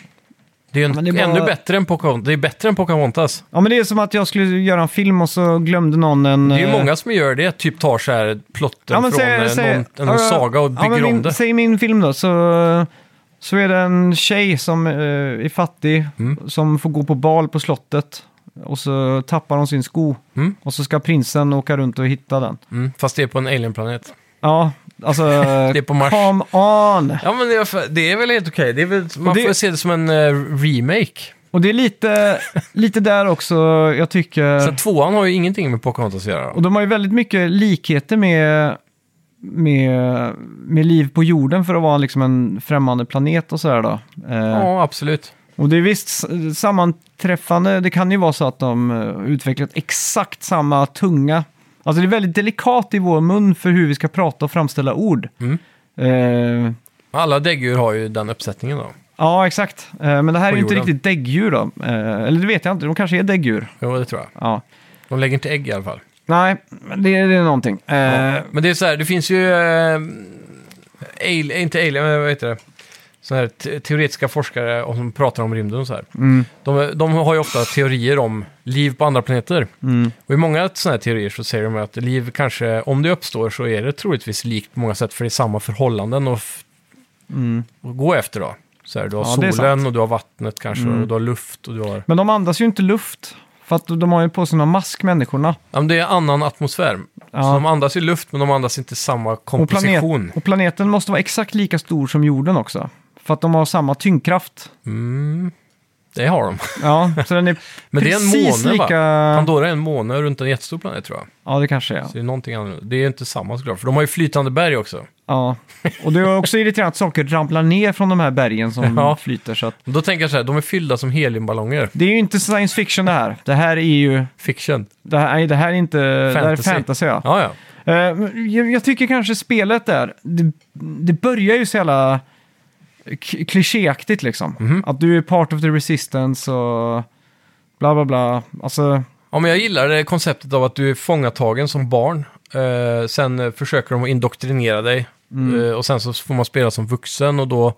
A: Det är, ju en,
B: men det är bara-
A: ännu bättre än Pocahontas. Det är bättre än Pocahontas.
B: Ja, men det är som att jag skulle göra en film och så glömde någon en...
A: Det är ju
B: eh,
A: många som gör det, typ tar så här plotten från eh, någon, någon
B: ja,
A: saga och
B: ja,
A: bygger
B: men
A: om
B: min,
A: det.
B: Säg min film då, så, så är det en tjej som eh, är fattig,
A: Mm.
B: som får gå på bal på slottet. Och så tappar hon sin sko.
A: Mm.
B: Och så ska prinsen åka runt och hitta den.
A: Mm, fast det är på en alienplanet.
B: Ja, alltså... det
A: är på Mars.
B: Come on!
A: Ja, men det är, det är väl helt okej. Det är väl- Man
B: det-
A: får se det som en eh, remake.
B: Och det är lite, lite där också jag
A: Sen
B: tycker...
A: tvåan har ju ingenting med Pocahontas att göra.
B: Och de har ju väldigt mycket likheter med, med, med liv på jorden för att vara liksom en främmande planet och sådär då. Eh,
A: Ja, absolut.
B: Och det är visst s- sammanträffande. Det kan ju vara så att de eh, utvecklat exakt samma tunga. Alltså det är väldigt delikat i vår mun för hur vi ska prata och framställa ord.
A: Mm.
B: Eh,
A: Alla däggdjur har ju den uppsättningen då.
B: ja, exakt. Eh, men det här är
A: På
B: ju inte
A: jorden.
B: riktigt däggdjur då. Eh, eller det vet jag inte, de kanske är däggdjur.
A: Jo, det tror jag.
B: Ja.
A: De lägger inte ägg i alla fall.
B: Nej, men det, det är någonting. Eh, ja.
A: Men det är så här, det finns ju... Eh, al- inte alien, men vad heter det? Såna här te- teoretiska forskare och som pratar om rymden och så här.
B: Mm,
A: De, de har ju ofta teorier om liv på andra planeter.
B: mm,
A: Och i många sådana här teorier så säger de att liv kanske, om det uppstår så är det troligtvis likt på många sätt för det är samma förhållanden att, f-
B: mm.
A: att gå efter då. Så här, du har
B: Ja, det är
A: solen och du har vattnet kanske
B: Mm.
A: och du har luft och du har...
B: Men de andas ju inte luft. För att de har ju på sig någon mask, människorna.
A: Ja, men det är annan atmosfär. Så
B: Ja.
A: de andas ju luft men de andas inte samma komposition.
B: och planeten måste vara exakt lika stor som jorden också. För att de har samma tyngdkraft.
A: Mm. Det har de.
B: Ja, så den är
A: Men det är en
B: precis
A: måne, va?
B: lika...
A: Pandora är en måne runt en jättestor planet tror jag.
B: Ja, det kanske är.
A: Så det är någonting annorlunda. Det är inte samma såklart, för de har ju flytande berg också.
B: Ja. Och det är också irriterande att saker ramlar ner från de här bergen som
A: Ja.
B: flyter. Så att...
A: Men Då tänker jag så här, de är fyllda som heliumballonger.
B: Det är ju inte science fiction det här. Det här är ju...
A: Fiction.
B: Det här, nej, det här är inte... Det här är
A: Fantasy.
B: fantasy, ja.
A: Ja, ja.
B: Eh, men jag, jag tycker kanske spelet där, det, det börjar ju så jävla k- klichéaktigt liksom.
A: Mhm.
B: Att du är part of the resistance och bla bla bla. Alltså,
A: Ja, men jag gillar det konceptet av att du är fångatagen som barn. Eh, sen eh, försöker de att indoktrinera dig.
B: Mm.
A: Eh, och sen så får man spela som vuxen och då...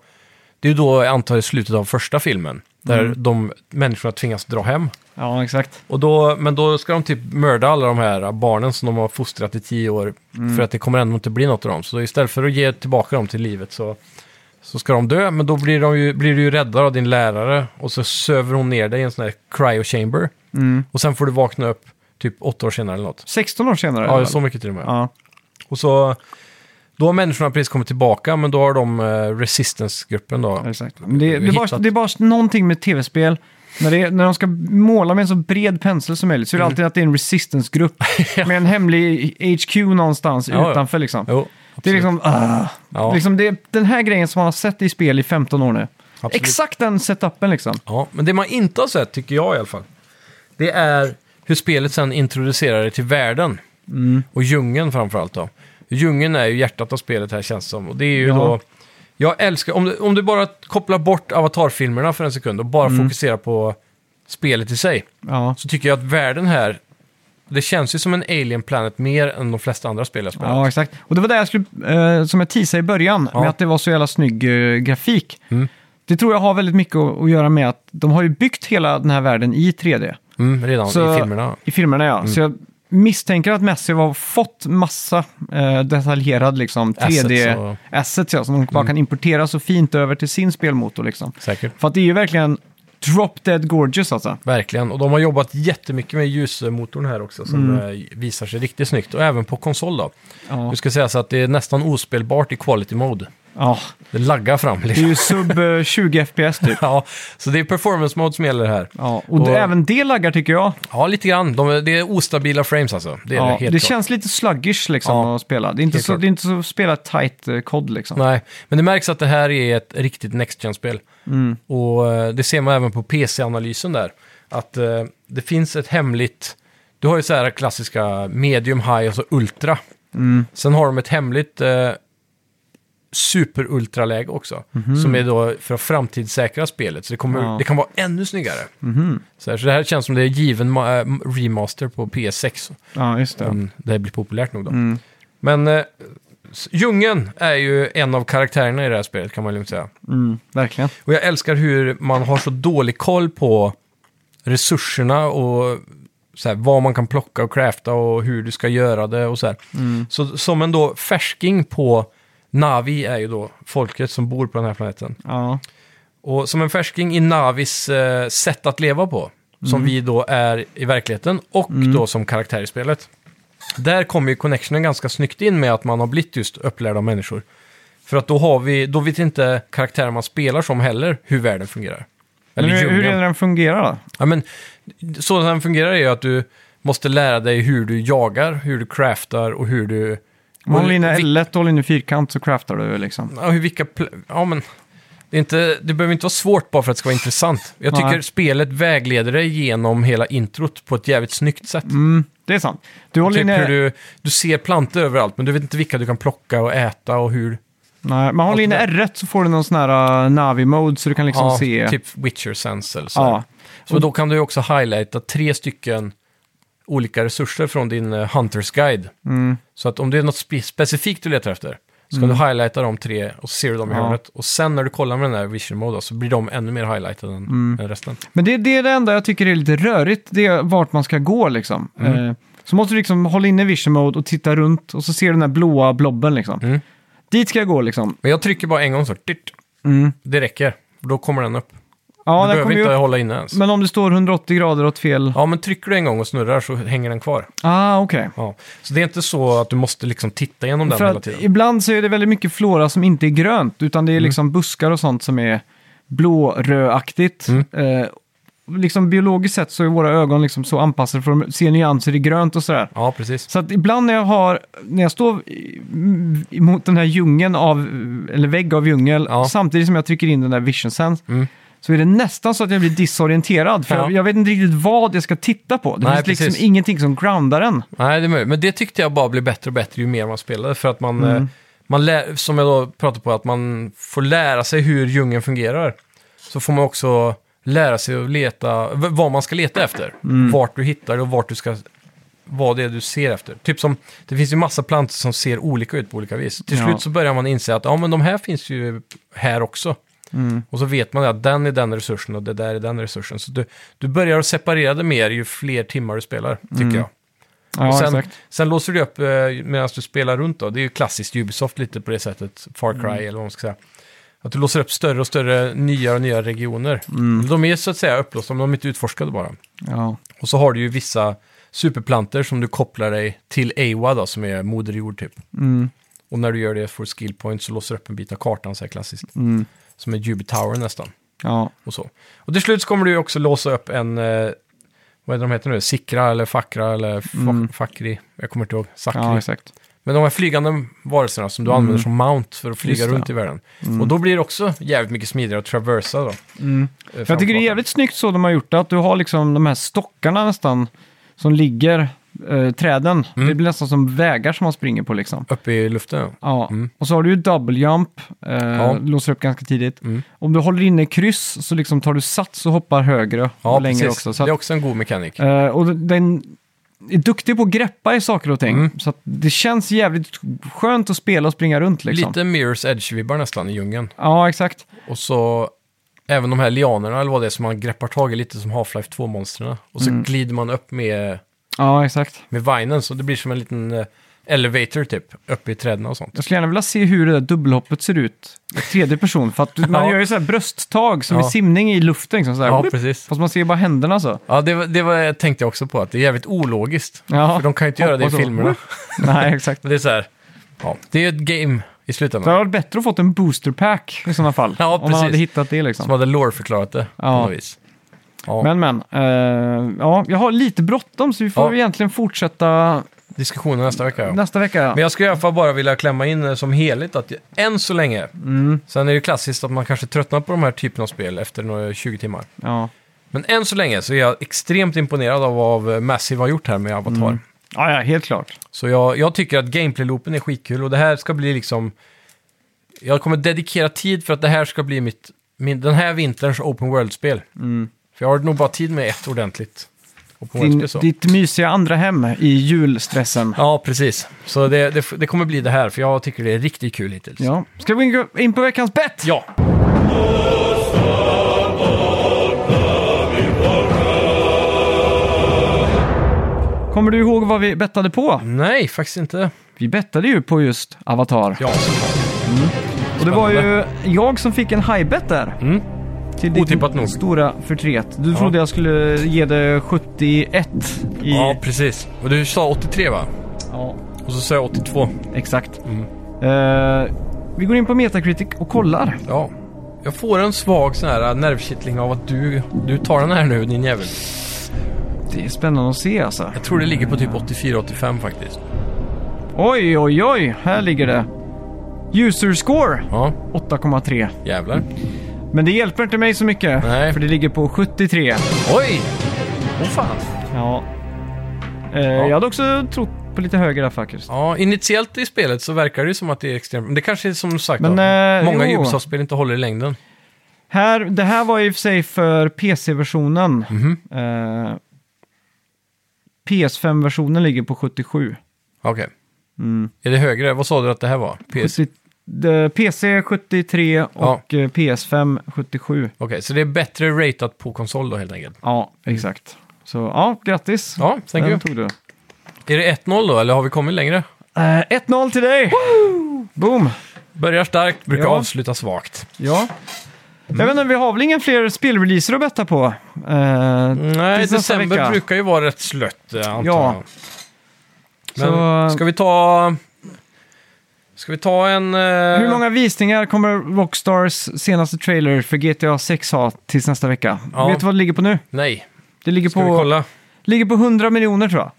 A: Det är ju då jag antar i slutet av första filmen. Där
B: Mm.
A: de människorna tvingas dra hem.
B: ja exakt.
A: Och då, men då ska de typ mörda alla de här barnen som de har fostrat i tio år.
B: Mm.
A: För att det kommer ändå inte bli något av dem. Så istället för att ge tillbaka dem till livet så, så ska de dö. Men då blir, de ju, blir du ju räddad av din lärare. Och så söver hon ner dig i en sån här cryo chamber.
B: Mm.
A: Och sen får du vakna upp typ åtta år senare eller något.
B: 16 år senare.
A: Ja,
B: väl?
A: så mycket till och med.
B: ja.
A: Och så, då har människorna precis kommit tillbaka, men då har de eh, resistance-gruppen då.
B: Exakt. Men Det, det, är bara,
A: Hittat.
B: det är bara någonting med tv-spel. När, det, är- när de ska måla med en så bred pensel som möjligt så är
A: Mm.
B: det alltid att det är en resistance-grupp med en hemlig HQ någonstans
A: Ja, ja.
B: utanför liksom.
A: Jo,
B: det är
A: absolut.
B: liksom, ah.
A: Ja.
B: liksom det är den här grejen som man har sett i spel i 15 år nu.
A: Absolut.
B: Exakt den setupen liksom.
A: Ja, men det man inte har sett, tycker jag i alla fall, det är hur spelet sen introducerar dig till världen.
B: Mm.
A: Och djungeln framförallt då. Djungeln är ju hjärtat av spelet här känns det som. Och det är ju
B: Ja.
A: då... Jag älskar... Om du, om du bara kopplar bort avatarfilmerna för en sekund och
B: Mm.
A: bara fokuserar på spelet i sig.
B: Ja.
A: Så tycker jag att världen här... Det känns ju som en alien planet mer än de flesta andra spel jag spelat.
B: ja, exakt. Och det var det jag skulle, eh, som jag teasade i början,
A: Ja.
B: med att det var så jävla snygg eh, grafik.
A: Mm.
B: Det tror jag har väldigt mycket att, att göra med att de har ju byggt hela den här världen i 3D.
A: Mm, redan
B: Så-
A: i filmerna.
B: I filmerna
A: Mm.
B: ja. Så jag misstänker att Messi har fått massa eh, detaljerad liksom,
A: Assets
B: 3D-assets
A: och- Mm.
B: ja, som de bara kan importera så fint över till sin spelmotor. Liksom.
A: Säkert.
B: För att det är ju verkligen drop dead gorgeous alltså.
A: Verkligen. Och de har jobbat jättemycket med ljusmotorn här också som eh, visar sig riktigt snyggt. Och även på konsol då.
B: Mm. Ja.
A: Du ska säga så att det är nästan ospelbart i quality mode.
B: Ja.
A: Det laggar fram
B: Det är
A: liksom.
B: ju sub eh, 20 FPS typ.
A: Ja, så det är performance mode som gäller här.
B: Ja, och, det,
A: Och-
B: även det laggar tycker jag.
A: Ja, lite grann. De, det är ostabila frames alltså. Det är
B: ja,
A: det helt
B: det
A: klart.
B: känns lite sluggish liksom
A: Ja,
B: att spela. Det är inte
A: helt
B: så,
A: klart.
B: det är inte så att spela tight eh, kod liksom.
A: Nej, men det märks att det här är ett riktigt next gen spel
B: Mm.
A: Och eh, det ser man även på PC-analysen där. Att eh, det finns ett hemligt... Du har ju så här klassiska medium, high och så ultra.
B: Mm.
A: Sen har de ett hemligt eh, super-ultra-läge också. Som är då för att framtidssäkra spelet. Så det, kommer,
B: Mhm. Ja. Mhm.
A: det kan vara ännu snyggare. Så, här, så det här känns som det är given ma- eh, remaster på PS6.
B: Ja, just det.
A: Om Mm, det här blir populärt nog då. Men eh, s- djungeln är ju en av karaktärerna i det här spelet kan man lugnt säga.
B: Mm, verkligen.
A: Och jag älskar hur man har så dålig koll på resurserna och så här, vad man kan plocka och crafta och hur du ska göra det och så här. Så som en då färsking på Navi är ju då folket som bor på den här planeten.
B: Ja,
A: Och som en färsking i Navis eh, sätt att leva på, som
B: Mm.
A: vi då är i verkligheten och då som karaktär i spelet. Där kommer ju connectionen ganska snyggt in med att man har blivit just upplärd av människor. För att då, har vi, då vet inte karaktären man spelar som heller hur världen fungerar.
B: men
A: Eller
B: hur, hur är det
A: djungeln.
B: den fungerar då?
A: Ja, men, så den fungerar är ju att du måste lära dig hur du jagar, hur du craftar och hur du...
B: Man håller inne
A: vi-
B: L1 och håller inne fyrkant så craftar du liksom.
A: Ja, hur vilka... pl- Ja, men... Det, är inte, det behöver inte vara svårt bara för att det ska vara intressant. Jag tycker
B: Nej.
A: spelet vägleder dig genom hela introt på ett jävligt snyggt sätt.
B: Mm, det är sant. Du håller
A: Typ
B: inne,
A: hur du, du ser plantor överallt, men du vet inte vilka du kan plocka och äta och hur...
B: nej, man håller inne R1 så får du någon sån här uh, Navi-mode så du kan liksom
A: ja,
B: se.
A: Typ Witcher Sense eller så. här.
B: ja,
A: Så då kan du ju också highlighta tre stycken olika resurser från din eh, Hunters Guide.
B: mm,
A: Så att om det är något spe- specifikt du letar efter, så kan du highlighta de tre och så ser du dem i
B: Ja.
A: hörnet. Och sen när du kollar med den här Vision Mode då, så blir de ännu mer highlightade än,
B: Mm.
A: än resten.
B: Men det, det är det enda jag tycker är lite rörigt, det är vart man ska gå liksom.
A: Mm.
B: Eh, så måste du liksom hålla inne vision mode och titta runt och så ser du den här blåa blobben liksom.
A: Mm.
B: Dit ska jag gå liksom.
A: Men jag trycker bara en gång så, dyrt,
B: Mm.
A: det räcker. Då kommer den upp.
B: Ja,
A: du
B: den
A: behöver
B: kommer ju
A: inte
B: upp.
A: hålla inne ens.
B: Men om du står 180 grader åt fel...
A: Ja, men trycker du en gång och snurrar så hänger den kvar.
B: Ah, okej.
A: Ja. Så det är inte så att du måste liksom titta igenom den
B: För
A: hela
B: att
A: tiden. Mm.
B: ibland så är det väldigt mycket flora som inte är grönt, utan det är liksom buskar och sånt som är blåröaktigt.
A: Mm.
B: Eh, liksom biologiskt sett så är våra ögon liksom så anpassade för att se nyanser i grönt och sådär.
A: Ja, precis.
B: Så att ibland när jag har, när jag står i- m- mot den här djungeln av, eller vägg av djungel,
A: Ja.
B: samtidigt som jag trycker in den där vision sense,
A: Mm.
B: så är det nästan så att jag blir disorienterad. För
A: Ja.
B: jag, jag vet inte riktigt vad jag ska titta på. Det
A: Nej,
B: finns liksom
A: precis.
B: ingenting som groundar en.
A: Nej, det är möjligt. Men det tyckte jag bara blev bättre och bättre ju mer man spelade. För att man, eh, man lär, som jag då pratade på, att man får lära sig hur djungeln fungerar. Så får man också lära sig att leta, v- vad man ska leta efter. Vart du hittar det och vart du ska, vad det är du ser efter. Typ som, det finns ju massa plantor som ser olika ut på olika vis. Till
B: Ja.
A: slut så börjar man inse att, ja men de här finns ju här också. Och så vet man att den är den resursen och det där är den resursen. Så du, du börjar att separera det mer ju fler timmar du spelar, tycker jag.
B: Ja,
A: Och sen,
B: exakt.
A: sen låser du upp eh, medan du spelar runt då. Det är ju klassiskt Ubisoft lite på det sättet. Far Cry
B: Mm.
A: eller vad man ska säga. Att du låser upp större och större nya och nya regioner.
B: Mm.
A: De är så att säga upplåsta, men de är inte utforskade bara.
B: Ja.
A: Och så har du ju vissa superplanter som du kopplar dig till Awa då, som är moder jord typ.
B: Mm.
A: Och när du gör det får du skill points och låser upp en bit av kartan så här klassiskt.
B: Mm.
A: Som en Ubi Tower nästan.
B: Ja.
A: Och, så. och till slut så kommer du ju också låsa upp en, eh, vad är det de heter nu, Sikra eller Fakra eller fa-
B: Mm.
A: Fakri, jag kommer inte ihåg, Sakri.
B: ja, exakt.
A: Men de här flygande varelserna som du
B: Mm.
A: använder som mount för att flyga
B: Just det.
A: runt i världen. Och då blir det också jävligt mycket smidigare att traversa då.
B: Mm.
A: eh,
B: Jag tycker det är jävligt snyggt så de har gjort det, att du har liksom de här stockarna nästan som ligger, eh, träden.
A: Mm.
B: Det blir nästan som vägar som man springer på liksom.
A: Uppe i luften.
B: Ja,
A: Mm.
B: och så har du ju double jump, eh, låser upp ganska tidigt.
A: Mm.
B: Om du håller inne kryss så liksom tar du sats och hoppar högre
A: Ja,
B: och längre
A: precis.
B: också. Så
A: Det är
B: att,
A: också en god mekanik.
B: eh, och den är duktig på att greppa i saker och ting.
A: Mm.
B: Så att det känns jävligt skönt att spela och springa runt liksom.
A: Lite Mirrors Edge-vibbar nästan i djungeln.
B: Ja, exakt.
A: Och så även de här lianerna eller vad det är som man greppar tag i lite som Half-Life 2-monstren. Och
B: Mm.
A: så glider man upp med,
B: Ja, exakt.
A: med vinen så det blir som en liten eh, elevator typ, uppe i träden och sånt.
B: Jag skulle gärna vilja se hur det där dubbelhoppet ser ut i tredje person. För att du- man
A: Ja.
B: gör ju så här brösttag som
A: Ja.
B: i simning i luften. Liksom, så här,
A: Ja,
B: whip.
A: precis.
B: Fast man ser ju bara händerna så.
A: Ja, det, var- det var, tänkte jag också på, att det är jävligt ologiskt.
B: Ja.
A: För de kan ju inte göra det i
B: Hoppas så.
A: filmerna.
B: Nej, exakt.
A: Men det är så här, ja, det är ju ett game i
B: Det
A: slutändan.
B: hade varit bättre att fått en boosterpack i sådana fall.
A: Ja,
B: om man hade
A: precis.
B: hittat det
A: Som
B: liksom.
A: hade lore-förklarat det på
B: Ja.
A: något vis. Ja,
B: Men men, eh, ja, jag har lite bråttom så vi får
A: Ja.
B: egentligen fortsätta
A: diskussionen nästa vecka. Ja.
B: nästa vecka.
A: Men jag skulle i alla fall bara vilja klämma in eh, som helhet att jag- än så länge,
B: Mm.
A: sen är det ju klassiskt att man kanske tröttnar på de här typerna av spel efter några 20 timmar.
B: Ja.
A: Men än så länge så är jag extremt imponerad av vad Massive har gjort här med Avatar.
B: Mm. Ja, ja, helt klart.
A: Så jag, jag tycker att gameplay-loopen är skitkul och det här ska bli liksom... Jag kommer dedikera tid för att det här ska bli mitt, min, den här vinterns open world-spel. För jag har nog bara tid med ett ordentligt open
B: Mm. Din,
A: world-spel. Så.
B: ditt mysiga andra hem i julstressen.
A: Ja, precis. Så det, det, det kommer bli det här, för jag tycker det är riktigt kul hittills.
B: Ja. Ska vi gå in på veckans bett?
A: ja.
B: Kommer du ihåg vad vi bettade på?
A: Nej, faktiskt inte.
B: Vi bettade ju på just Avatar.
A: Ja,
B: Och det var ju jag som fick en high bet där.
A: Mm.
B: Till ditt
A: Otippat nog.
B: stora förtret. Du trodde jag skulle ge det 71 i...
A: ja, precis. Och du sa 83 va?
B: Ja,
A: Och så sa jag 82.
B: exakt.
A: Mm.
B: Eh, vi går in på Metacritic och kollar.
A: Ja. Jag får en svag sån här nervkittling av att du, du tar den här nu, din jävel.
B: Det är spännande att se alltså.
A: Jag tror det ligger på typ 84-85 faktiskt.
B: Oj, oj, oj. Här ligger det. User score
A: Ja,
B: 8,3.
A: jävlar.
B: Men det hjälper inte mig så mycket.
A: Nej.
B: För det ligger på 73.
A: Oj! Åh fan.
B: Ja. Eh, Jag hade också trott på lite högre där faktiskt.
A: Ja, initiellt i spelet så verkar det ju som att det är extremt... Men det kanske är som sagt
B: Men,
A: då,
B: eh,
A: många
B: jo.
A: Ubisoft-spel inte håller i längden.
B: Här, det här var i och för sig för PC-versionen.
A: Mhm.
B: Eh, PS5-versionen ligger på 77.
A: Okej.
B: Mm.
A: Är det högre? Vad sa du att det här var? PS... Okej,
B: 70 de- PC 73 och eh, PS5 77.
A: så det är bättre ratat på konsol då helt enkelt.
B: Ja, exakt. Så ja, grattis.
A: Ja, thank
B: Den
A: you.
B: tog du.
A: Är det 1-0 då, eller har vi kommit längre?
B: Eh, 1-0 till dig! Boom!
A: Börjar starkt, brukar
B: Ja.
A: avsluta svagt.
B: Ja.
A: Mm.
B: Jag vet inte, vi har väl inga fler spelreleaser att betta på? Eh,
A: Mm, Nej,
B: tills nästa
A: december
B: vecka.
A: brukar ju vara rätt slött, eh, antar
B: Ja.
A: jag. Men
B: Så-
A: ska vi ta... Ska vi ta en... eh,
B: Hur många visningar kommer Rockstars senaste trailer för GTA 6 ha tills nästa vecka?
A: Ja.
B: Vet du vad det ligger på nu?
A: Nej,
B: Det ligger
A: ska vi
B: på,
A: kolla?
B: ligger på 100 miljoner tror jag.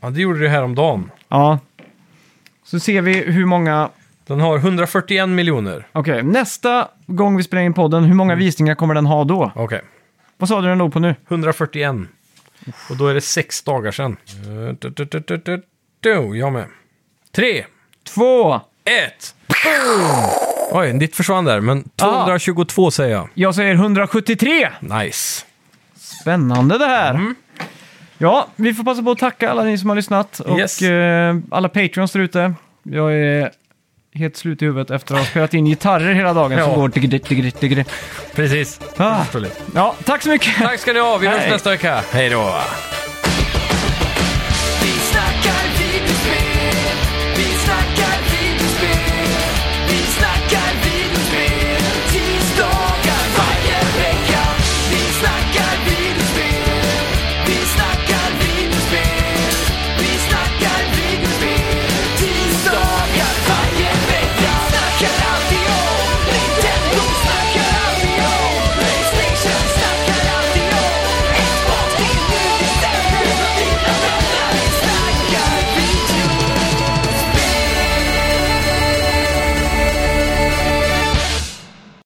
A: Ja, det gjorde det häromdagen.
B: Ja. Så ser vi hur många...
A: Den har 141 miljoner.
B: Okej, nästa gång vi spelar in podden, hur
A: Mm.
B: många visningar kommer den ha då?
A: Okej.
B: Vad sa du den låg på nu?
A: 141. Och då är det sex dagar sedan. Eh, du, du, du, du, du, du, Jag med. Tre,
B: Två!
A: ett. boom! Oj, ditt försvann där, men 222 säger jag.
B: Jag säger 173!
A: Nice.
B: Spännande det här!
A: Mm.
B: Ja, vi får passa på att tacka alla ni som har lyssnat och
A: Yes.
B: eh, alla Patreons där ute. Jag är helt slut i huvudet efter att ha spelat in gitarrer hela dagen som
A: Ja.
B: går... digri, digri, digri.
A: Precis.
B: Ah. Ja, tack så mycket!
A: Tack ska ni ha, vi hörs
B: Hej.
A: nästa vecka. Hej då.